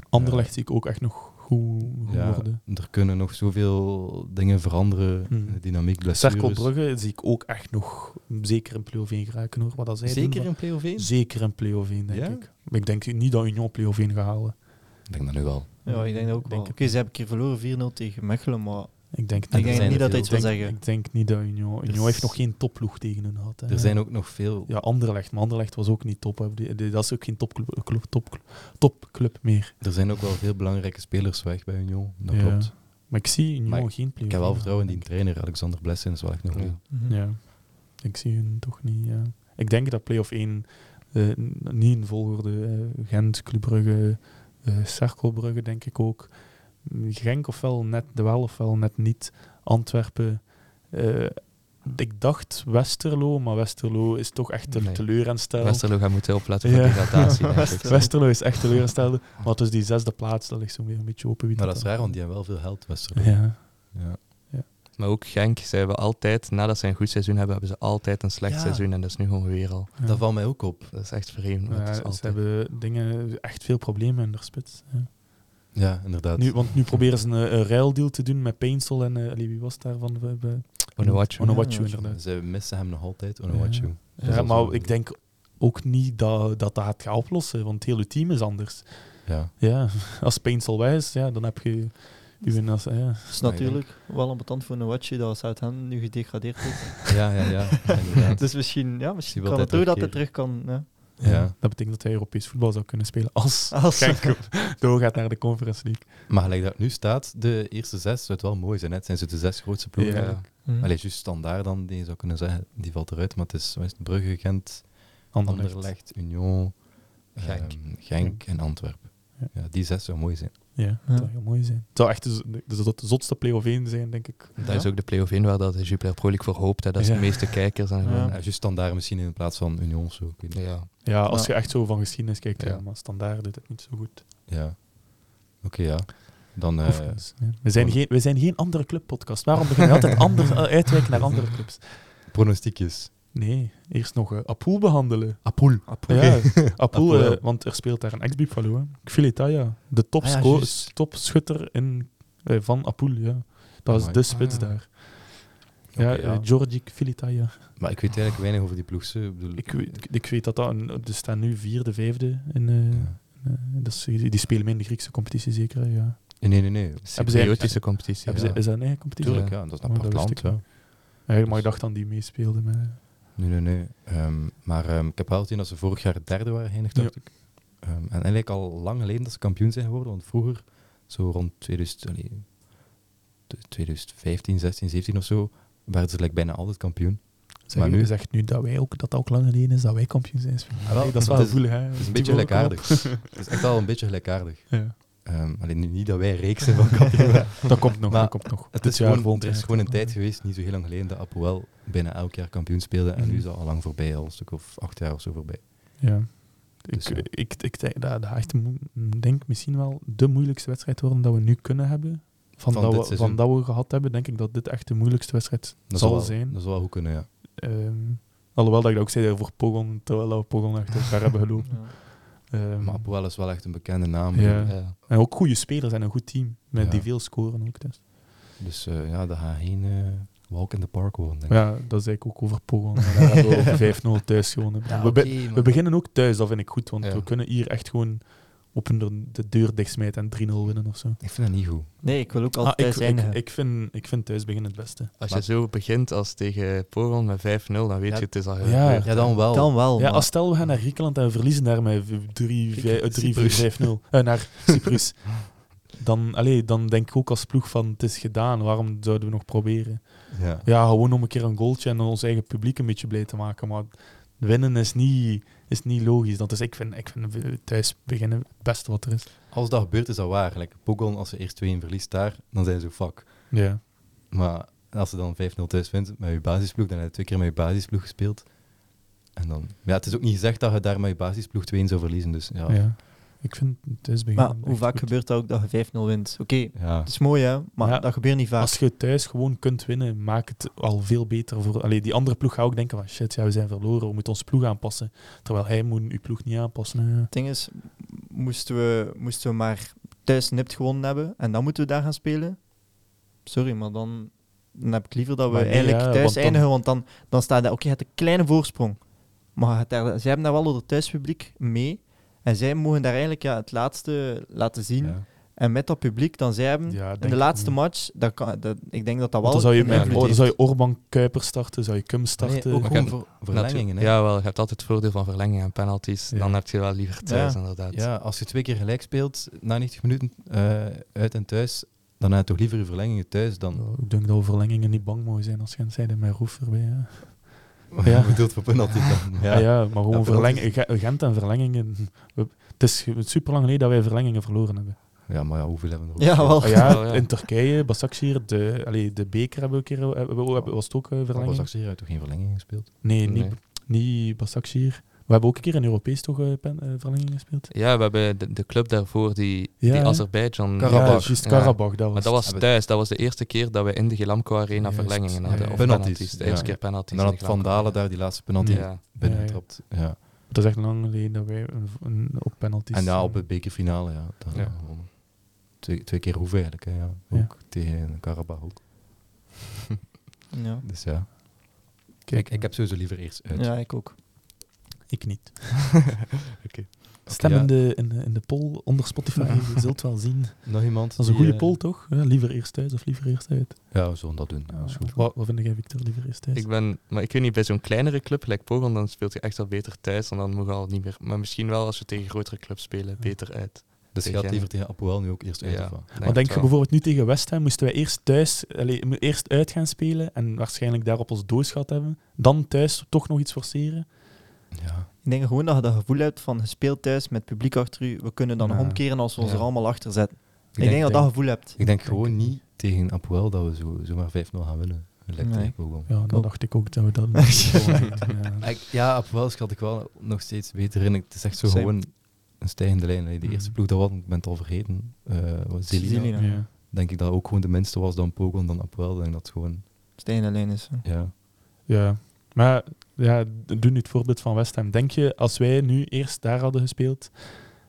Anderlecht zie ik ook echt nog goed, goed Ja, worden. er kunnen nog zoveel dingen veranderen. Hmm. in De dynamiek, blessures. Cerkel Brugge zie ik ook echt nog zeker in play-off 1 geraken hoor. Wat dat zij doen, Zeker maar- in play-off één? Zeker een play-off 1, denk Ja? ik. Maar ik denk niet dat Union play-off 1 gaat halen. Ik denk dat nu wel. Ja, ik denk dat ook Denk wel. het. Oké, ze hebben een keer verloren 4-0 tegen Mechelen, maar Ik denk En niet, ik denk zijn niet er dat hij iets wil veel. zeggen. ik denk niet dat Union... Union Dus- heeft nog geen topploeg tegen hun gehad. hè. Er zijn ook nog veel. Ja, Anderlecht. Maar Anderlecht was ook niet top. hè. Die- die- Dat is ook geen topclub, club- topclub- topclub meer. Er zijn ook wel veel belangrijke spelers weg bij Union. Dat Ja. klopt. Maar ik zie Union Maar geen play Ik heb wel vertrouwen in die trainer, Alexander Blessing, is wel echt nog Ja. goed. Mhm. Ja. Ik zie hun toch niet... ja. Ik denk dat play-off 1 eh, n- niet in volgorde... eh, Gent, Club Brugge, eh Cercle Brugge denk ik ook. Genk ofwel net wel, ofwel net niet. Antwerpen... eh, ik dacht Westerlo, maar Westerlo is toch echt een Nee. teleurstelling. Westerlo gaat moeten opletten voor eh, Ja. *laughs* die degradatie, denk ik. Westerlo. Westerlo is echt teleurgestelde. Maar dus die zesde plaats, dat ligt zo weer een beetje open. Wie Nou, dat is raar, want die hebben wel veel geld, Westerlo. Ja. Ja. Maar ook Genk, ze hebben altijd, nadat ze een goed seizoen hebben, hebben ze altijd een slecht Ja. seizoen. En dat is nu gewoon weer al. Ja. Dat valt mij ook op. Dat is echt vreemd. maar Ja, het is altijd... ze hebben dingen, echt veel problemen in de spits. Ja. Ja, inderdaad. Nu, want nu proberen ze een, eh, een ruildeal te doen met Painsel en eh, allee, wie was daarvan? We hebben- Onuachu. Onuachu, Ja, inderdaad. Ze missen hem nog altijd, Onuachu. Ja. Dat is Ja, al maar zo. ik denk ook niet dat dat, dat het gaat oplossen, want het hele team is anders. Ja. Ja, *laughs* als Painsel weg is, ja, dan heb je... Uw, nas- ja. Dat is natuurlijk wel een betant voor een watje dat Southampton nu gedegradeerd is. Ja, ja, ja. *laughs* inderdaad. *laughs* dus misschien, ja, misschien wil kan hij het ook dat hij terugkeren. terug kan. Ja. Ja. Dat betekent dat hij Europees voetbal zou kunnen spelen *laughs* als, Als- Genk doorgaat naar de Conference League. Maar gelijk dat het nu staat, de eerste zes zou het wel mooi zijn. Hè? Het zijn ze de zes grootste ploegen. Ja. eigenlijk. Mhm. Allee, juist standaard dan, die je zou kunnen zeggen, die valt eruit. Maar het is wat is het? Brugge, Gent, Anderlecht. Anderlecht, Union, Genk. Genk, Genk en Antwerpen. Ja. Ja. die zes zou mooi zijn. Ja, Ja. dat zou heel mooi zijn. Het zou echt de, z- de, de, de zotste play-off 1 zijn, denk ik. Dat is ook de play-off in waar dat de Jupiler Pro League voor hoopt. Hè. Dat is Ja. de meeste kijkers. En Ja. gewoon, eh, Ja, juist standaard misschien in plaats van Union of zo. Ik weet niet. ja. Ja, als Ja. je echt zo van geschiedenis kijkt, ja. Ja. maar standaard doet het niet zo goed. Ja. Oké, ja. Dan, eh, Overigens, ja. we, zijn geen, we zijn geen andere clubpodcast. Waarom beginnen we altijd *laughs* anders, eh, uitwijken naar andere clubs? pronostiekjes. Nee, eerst nog eh Apoel behandelen. Apoel. Apple. *laughs* Ja, Apoel, Apoel, eh, ja. want er speelt daar een ex-Buffalo. hè. Kvilitaya, Ah de ja, topsco- juist. topschutter in, eh, van Apoel. Ja. Dat is Amai. de spits Ah. daar. Oké, Ja, ja. eh, Georgi Kvilitaya. Maar ik weet eigenlijk weinig over die ploeg. ze. Ik bedoel, Ik weet, ik weet dat dat... Een, er staan nu vierde, vijfde in... eh, ja. eh, dat is- die die spelen mee in de Griekse competitie, zeker. hè, Ja. Eh, Nee, nee, nee. Cypriotische competitie. Hebben ze, Ja. is dat een eigen competitie? Tuurlijk, ja. Oh, Dat is een Maar apart Oh, dat wist land. ik Ja. Ja, maar ik dacht dan die meespeelden eh, met... Nee, nee, nee. Ehm, maar ehm, ik heb wel gezien dat ze vorig jaar derde waren geëindigd, Ja. dacht ik. Ehm, en eigenlijk al lang geleden dat ze kampioen zijn geworden, want vroeger, zo rond 2000, allee, t- 2015, 16, 17 of zo, werden ze like, bijna altijd kampioen. Zeg, Maar nu- zegt nu dat wij ook, dat dat ook lang geleden is dat wij *laughs* kampioen zijn. Ah, wel, Nee, dat is wel het is- gevoelig, hè. Het is een beetje gelijkaardig. het is echt wel een beetje gelijkaardig. Ja. Ehm alleen nu niet dat wij reeks zijn *laughs* van kampioen. maar Dat komt nog, Maar dat komt nog. Het Dit is jaar gewoon, volgend er is jaar. gewoon een tijd geweest, niet zo heel lang geleden, dat Apoel bijna elk jaar kampioen speelde. Mhm. En nu is dat al lang voorbij, al een stuk of acht jaar of zo voorbij. Ja. Dus ja. Ik, ik, ik denk dat, dat echt, mo- denk misschien wel de moeilijkste wedstrijd worden dat we nu kunnen hebben. Van, Van dat, dit we, van seizoen. dat we gehad hebben, denk ik dat dit echt de moeilijkste wedstrijd Dat zal wel- zijn. Dat zou wel goed kunnen, ja. Ehm, alhoewel dat ik dat ook zei voor Pogon, terwijl we Pogon achter elkaar hebben gelopen. Ja. Ehm, Maar Apoel is wel echt een bekende naam. Ja. Ja. en ook goede spelers en een goed team, met Ja. die veel scoren ook. Dus. Dus eh, ja, dat gaat geen eh, walk in the park worden, denk ik. Ja, dat zei ik ook over Pogon. maar *laughs* Daar hebben we over 5-0 thuis gewonnen. we, be- we beginnen ook thuis, dat vind ik goed. Want Ja. we kunnen hier echt gewoon op hun de- de deur dichtsmijten en 3-0 winnen of zo. Ik vind dat niet goed. Nee, ik wil ook Ah, altijd ik, thuis eindigen. ik, ik, vind, ik vind thuis beginnen het beste. Als Maar- je zo begint als tegen Poron met 5-0, dan weet Ja. je het is al Ja. gebeurd. Ja, dan wel. Dan wel. oh. Ja, maar- als stel we gaan naar Griekenland en we verliezen daar met eh, Griekenland, Cyprus. 3-5-0 Eh, naar Cyprus, dan, allee, dan denk ik ook als ploeg van het is gedaan, waarom zouden we nog proberen? Ja. Ja, gewoon om een keer een goaltje en ons eigen publiek een beetje blij te maken, maar winnen is niet, is niet logisch. Dat is, ik, vind, ik vind thuis beginnen het beste wat er is. Als dat gebeurt, is dat waar. Like, Pogon, als ze eerst 2-1 verliest daar, dan zijn ze fuck. Ja. Maar als ze dan 5-0 thuis wint met je basisploeg, dan heb je twee keer met je basisploeg gespeeld. En dan... Ja, het is ook niet gezegd dat je daar met je basisploeg 2-1 zou verliezen, dus ja. Ja. Ik vind thuis maar beginnen hoe echt vaak goed. gebeurt dat ook dat je 5-0 wint? Oké, Ja. dat is mooi hè, maar Ja. dat gebeurt niet vaak. Als je thuis gewoon kunt winnen, maakt het al veel beter voor. Allee, die andere ploeg gaat ook denken van shit, ja, we zijn verloren, we moeten onze ploeg aanpassen. Terwijl hij moet uw ploeg niet aanpassen. hè. Het ding is, m- moesten we, moesten we maar thuis nipt gewonnen hebben en dan moeten we daar gaan spelen. Sorry, maar dan, dan heb ik liever dat we Maar nee, eigenlijk ja, thuis want dan- eindigen, want dan, dan staat daar, oké, je hebt een kleine voorsprong. Maar het daar- zij hebben daar wel door het thuispubliek mee. En zij mogen daar eigenlijk ja, het laatste laten zien. Ja. En met dat publiek dan zij hebben, Ja, denk in Mm. de ik laatste niet. match, dat kan, dat, ik denk dat dat wel... Want dan zou je, een met, invloed oh, dan heeft. zou je Orban Kuiper starten, zou je Kum starten. Nee, ook Maar gewoon ga- voor- Verlengingen, hè? Ja, wel. Je hebt altijd het voordeel van verlengingen en penalties. Ja. Dan heb je wel liever thuis, Ja. inderdaad. Ja, als je twee keer gelijk speelt na 90 minuten eh, uit en thuis, dan heb je toch liever je verlengingen thuis *laughs* dan. Oh, Ik denk dat we verlengingen niet bang mogen zijn als je zeiden met Roef erbij. hè. Ja. bedoeld voor penalty dan. Ja, Ah ja maar Ja, gewoon penalties. verlengingen. Gent en verlengingen. We- het is super lang geleden dat wij verlengingen verloren hebben. Ja, maar ja, hoeveel hebben we er ook? Ja, wel. Oh, ja, Wel, ja. in Turkije, Basakşehir, de, allee, de beker hebben we een keer, hebben, we- hebben- was het ook eh, Al verlenging? was hier toch geen verlenging gespeeld? Nee, Nee. niet, niet Basakşehir. We hebben ook een keer een Europees toch eh, pen- eh, verlenging gespeeld? Ja, we hebben de, de club daarvoor, die, Ja, die hè? Azerbeidzjan. Karabach. Ja, juist, Ja. Karabach. Dat was, Maar dat was Hebben- thuis. Dat was de eerste keer dat we in de Gelamco Arena Juist. verlengingen Ja, hadden. ja. Of Penalties, penalties. De ja. eerste keer penalties. En dan in had de Van Gelamco Dalen daar die laatste penalty Arena. Ja. binnengetrapt. Ja. dat is echt lang geleden dat wij een, een, op penalties... En ja, eh, op het bekerfinale, ja. Dan, Ja. ja, gewoon Twee, twee keer hoeveel eigenlijk, hè, ja. Ja. Ook tegen Karabach ook. Ja. Dus ja. kijk, ik, ik heb sowieso liever eerst uit. ja, ik ook. *laughs* ik niet. Oké. Stem ja. in, de, in, de, in de poll onder Spotify, *laughs* je zult wel zien. Nog iemand? Dat is een goede die, eh, poll, toch? Ja, liever eerst thuis of liever eerst uit? Ja, we zullen dat doen. Ja, is goed. Wat, wat vind jij, Victor? Liever eerst thuis? Ik ben, maar ik weet niet, bij zo'n kleinere club, gelijk Pogon, dan speelt je echt wel beter thuis. En dan moet je al niet meer. Maar misschien wel als we tegen grotere clubs spelen, beter uit. Dus je Tegen- gaat liever tegen Apoel nu ook eerst uit, Ja. of wat? Maar denk het je wel. bijvoorbeeld nu tegen West Ham, moesten wij eerst thuis, allee, mo- eerst uit gaan spelen en waarschijnlijk daarop ons doos gehad hebben, dan thuis toch nog iets forceren? Ja. Ik denk gewoon dat je dat gevoel hebt van, je speelt thuis met publiek achter u, we kunnen dan Ja. omkeren als we ons Ja. er allemaal achter zetten. Ik denk- denk, dat dat denk- gevoel hebt. Ik denk gewoon niet tegen Apoel dat we zo, zomaar 5-0 gaan winnen. Gelijk Nee. tegen Pogon. Ja, Klopt. dan dacht ik ook dat we dat *laughs* gewoon doen, ja. Ik- Ja, Apoel schat ik wel nog steeds beter in. Het is echt zo Same. gewoon een stijgende lijn. Allee, De Mhm. eerste ploeg dat was, ik ben het al vergeten, eh was Zelina. Zelina. Ja. Ja. Denk ik dat ook gewoon de minste was dan Pogon, dan Apoel. Ik Denk dat het gewoon, Steen alleen is. hè. ja. Ja. Maar ja, doe nu het voorbeeld van West Ham. Denk je, als wij nu eerst daar hadden gespeeld,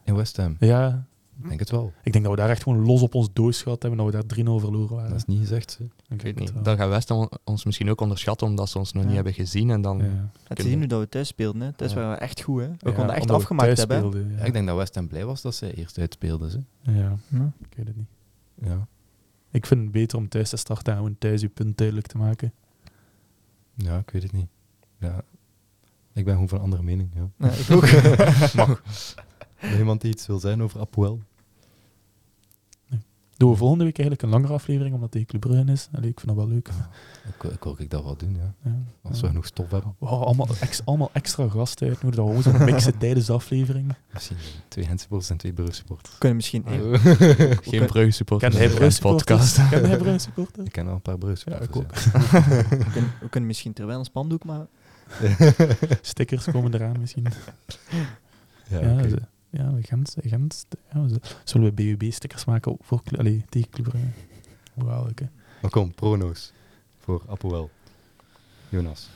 In West Ham, ja, ik denk het wel. ik denk dat we daar echt gewoon los op ons doos gehad hebben, dat we daar 3-0 verloren waren. Dat is niet gezegd. hè. Ik weet niet. Dan gaan West on- ons misschien ook onderschatten, omdat ze ons nog Ja. niet hebben gezien. En dan, Ja. Het is nu dat we thuis speelden. Hè. Thuis Ja. waren we echt goed. Hè. We Ja, konden echt omdat we afgemaakt thuis hebben. hè. speelden, Ja, ja. ik denk dat West Ham blij was dat zij eerst uitspeelden. Ze. Ja, Ja. ik weet het niet. Ja. Ik vind het beter om thuis te starten en gewoon thuis je punt duidelijk te maken. ja, ik weet het niet. Ja. Ik ben gewoon van andere mening. Ja. Ja, ik ook. *laughs* Nog Iemand die iets wil zijn over Apoel? Doen we volgende week eigenlijk een langere aflevering, omdat het Club Brugge is. Allee, ik vind dat wel leuk. Ik, ik wil ik dat wel doen, ja. Ja. Als Ja. we genoeg stof hebben. Wow, allemaal, ex- allemaal extra gasten uitnodigen, dat we gewoon zo mixen tijdens de aflevering. Misschien twee handsporters en twee brugsporters. We kunnen misschien... Eh, één- *laughs* Geen Brugge supporters. Ken dus. jij in de Brugge supporters? podcast. Ken jij Brugge *laughs* supporters? Ik ken al een paar brugsporters. Ja, ik ook. we, kunnen, we kunnen misschien terwijl een spandoek maar Stickers komen eraan misschien. Ja, Ja, oké. ze- ja, we Gent, Gent, ja, we z- zullen we BUB-stickers maken voor, Clu- allee, tegen Club Brugge? Wauw, oké. Maar kom, prono's voor Apoel. Jonas.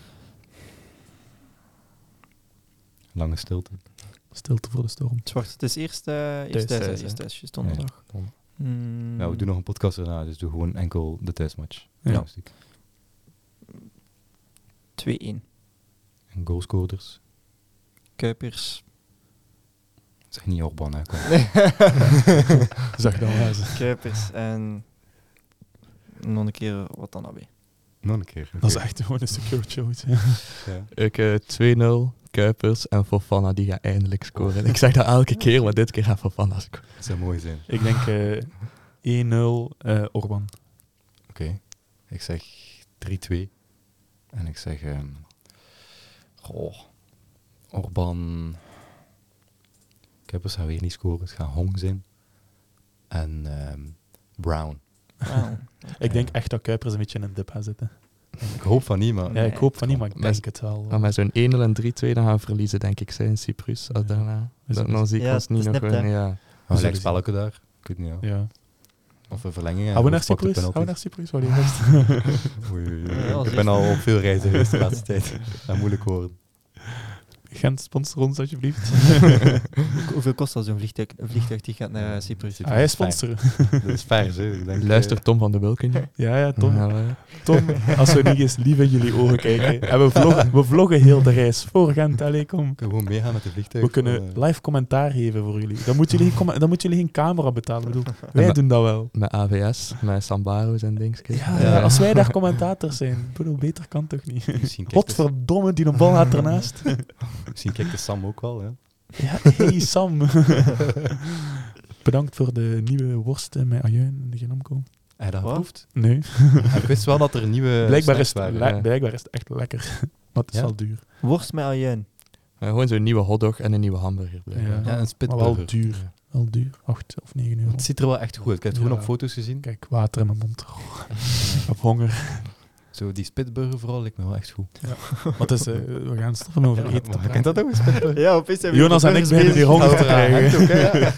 Lange stilte. Stilte voor de storm. Zwart, het is eerst, eh eerst thuis. thuis, hè. hè. Eerst thuis, juist donderdag. donder- Mm. Ja, Nou, we doen nog een podcast erna, dus doe gewoon enkel de thuismatch. Ja. Journalistiek. 2-1. En goalscorers. Kuipers. Zeg niet Orban, hè. Kom. Zag dan wel eens. Kuipers en... Nog een keer wat dan nou alweer. Nog een keer. Dat is echt gewoon een secure choice. Ja. Ik eh, 2-0, Kuipers en Fofana die gaat eindelijk scoren. Ik zeg dat elke keer, maar dit keer gaat Fofana scoren. Dat zou mooi zijn. Ik denk eh, 1-0 eh, Orban. Oké. Ik zeg 3-2. En ik zeg... ehm goh. Orban... Kuipers gaan weer niet scoren. Het gaat Hong zijn. En ehm, Brown. Wauw. Ik denk echt dat Kuipers een beetje in een dip gaat zitten. Ik hoop van niet, maar... Ja, ik hoop van niet, maar ik Mensen- denk het wel. Maar met zo'n 1-0 en 3-2 dan gaan we verliezen, denk ik, zij in Cyprus. Als Ja. daarna. Dus- Dan, dan zie ik Ja, ons het niet is nog net, winnen. hè. Ja. Maar zullen gelijk spelletje daar. Ik weet niet, ja. Ja. Of een verlenging. Hou we naar Of pak de Cyprus? Hou we naar penalties. Cyprus? Sorry, *laughs* *laughs* gast. Oei, oei, oei. Ja, dat Ik is ben *laughs* echt- al op veel reizen geweest de laatste tijd. Dat is moeilijk horen. Gent, sponsor ons alsjeblieft. Hoeveel kost dat zo'n vliegtuig, een vliegtuig die gaat naar eh, Cyprus? Ah, hij is sponsoren. Dat is vers, hè. Ik denk, eh, Luister Tom van de *laughs* Wilken. Ja, ja, Tom. Ja, ja. Tom, als we niet eens lief in jullie ogen kijken. En we vloggen, we vloggen heel de reis voor Gent. Allee, kom. kunnen we gewoon meegaan met de vliegtuig. Eh, We kunnen live commentaar geven voor jullie. Dan moeten jullie, geen comma- dan moeten jullie geen camera betalen. Ik bedoel, wij maar- doen dat wel. Met AVS, met Sambaro's en dingetjes. Ja, Ja. Als wij daar commentators zijn. Ik bedoel, beter kan toch niet? *laughs* Misschien kijkt, de, Godverdomme, die bal gaat ernaast. misschien kijkt de Sam ook wel, hè. Ja, *laughs* hey Sam. Bedankt voor de nieuwe worsten met ajuin en de genomco. Hij dat Wat? geproefd. Nee, Hij wist wel dat er nieuwe *laughs* blijkbaar is, snacks het, waren. le- ja. blijkbaar is het echt lekker. *laughs* Maar het is Ja? wel duur. Worst met ajuin. Maar gewoon zo'n nieuwe hotdog en een nieuwe hamburger. blijkbaar. Ja, een Maar wel spitburger. duur. Wel duur. 8 of 9 euro. Het ziet er wel echt goed uit. Ik heb het gewoon Ja. op foto's gezien. Kijk, water in mijn mond. *laughs* Oh, ik heb honger. Zo, die spitburger vooral lijkt me wel echt goed. Wat is, eh, we gaan stoppen met over eten. te maar kent dat ook? Ja, opeens zijn *laughs* we Jonas hier en ik burgers beginnen die honger bezig. te Ja, krijgen. ook, hè, ja.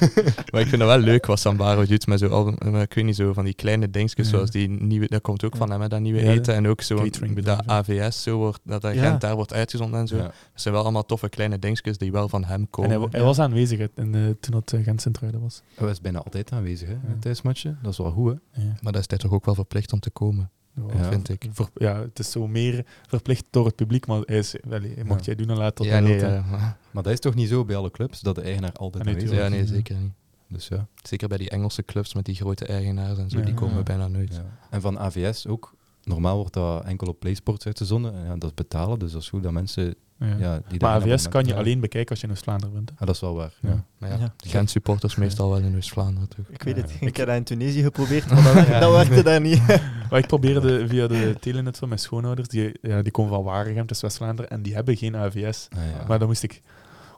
*laughs* Maar ik vind het wel leuk wat Sambaro doet met zo, al- eh, ik weet niet, zo van die kleine dingetjes Ja. zoals die nieuwe, dat komt ook Ja. van hem, hè, dat nieuwe Ja, eten. En ook zo catering dat bedrijf, hè. AVS zo wordt, dat dat Ja. Gent daar wordt uitgezonden en zo. Ja. Het zijn wel allemaal toffe kleine dingetjes die wel van hem En komen. hij, wa- hij was aanwezig hè, in, eh, toen dat eh, Gent Centruiden was. Hij was bijna altijd aanwezig, hè, in Ja. het thuismatchen. Dat is wel goed, hè. Ja. Maar dat is hij toch ook wel verplicht om te komen, Ja. vind ik. Ver- ja, het is zo meer verplicht door het publiek, maar hij is, wel, hij mocht Ja. jij doen en laten tot ja, hij nee, wilt, hè. ja, maar- Maar dat is toch niet zo bij alle clubs, dat de eigenaar altijd Ah, nee, aanwezig is? ja, nee, Ja. zeker niet. Dus ja. Zeker bij die Engelse clubs met die grote eigenaars en zo, Ja. die komen Ja. bijna nooit. Ja. En van AVS ook. Normaal wordt dat enkel op PlaySports uitgezonden. En ja, dat is betalen, dus dat is goed dat mensen... Ja. Ja, die daar een Maar AVS kan je abonnement- alleen bekijken als je in Oost-Vlaanderen bent. hè. Ja, dat is wel waar. Ja. Maar ja, Ja. Gent supporters meestal wel in Oost-Vlaanderen toch. Ik weet het, Ja. ik heb dat in Tunesië geprobeerd, maar dat werkte, dat werkte daar niet. Maar ik probeerde via de telenet van mijn schoonouders, die, ja, die komen van Waregem, dus West-Vlaanderen, en die hebben geen AVS. Ah, ja. Maar dan moest ik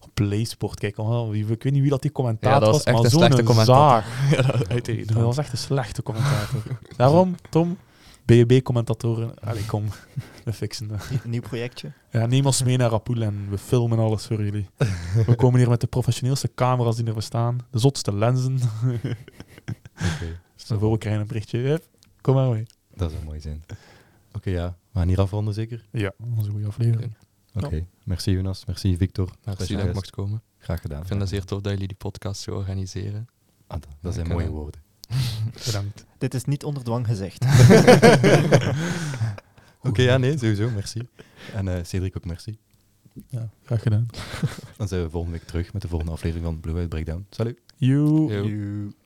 op PlaySport kijken. Oh, wie- ik weet niet wie dat die commentator Ja, dat was was, echt maar een zo'n slechte commentator. zaag. Ja, dat, uit Dat was echt een slechte commentator. *laughs* Daarom, Tom, BB-commentatoren, allee, kom, *laughs* we fixen dat. Nieuw projectje. Ja, neem ons mee naar Rapoel en we filmen alles voor jullie. *laughs* We komen hier met de professioneelste camera's die er bestaan, de zotste lenzen. Oké. Stel voor, we krijgen een berichtje. Hup, Kom maar mee. Dat zou mooi *laughs* zijn. Oké, ja. We gaan hier afronden, zeker? Ja, dat was een goede aflevering. Oké. Merci, Jonas. Merci, Victor. Merci Special dat guest. ik mocht komen. Graag gedaan. Ik vind dat zeer tof dat jullie die podcast zo organiseren. Ah, dat- dat zijn Ik, mooie eh, woorden. *laughs* Bedankt. Dit is niet onder dwang gezegd. Oké, ja, nee, sowieso. Merci. En eh, Cedric ook merci. Ja, graag gedaan. Dan zijn we volgende week terug met de volgende aflevering van Blue White Breakdown. Salut! You. Yo. Joe.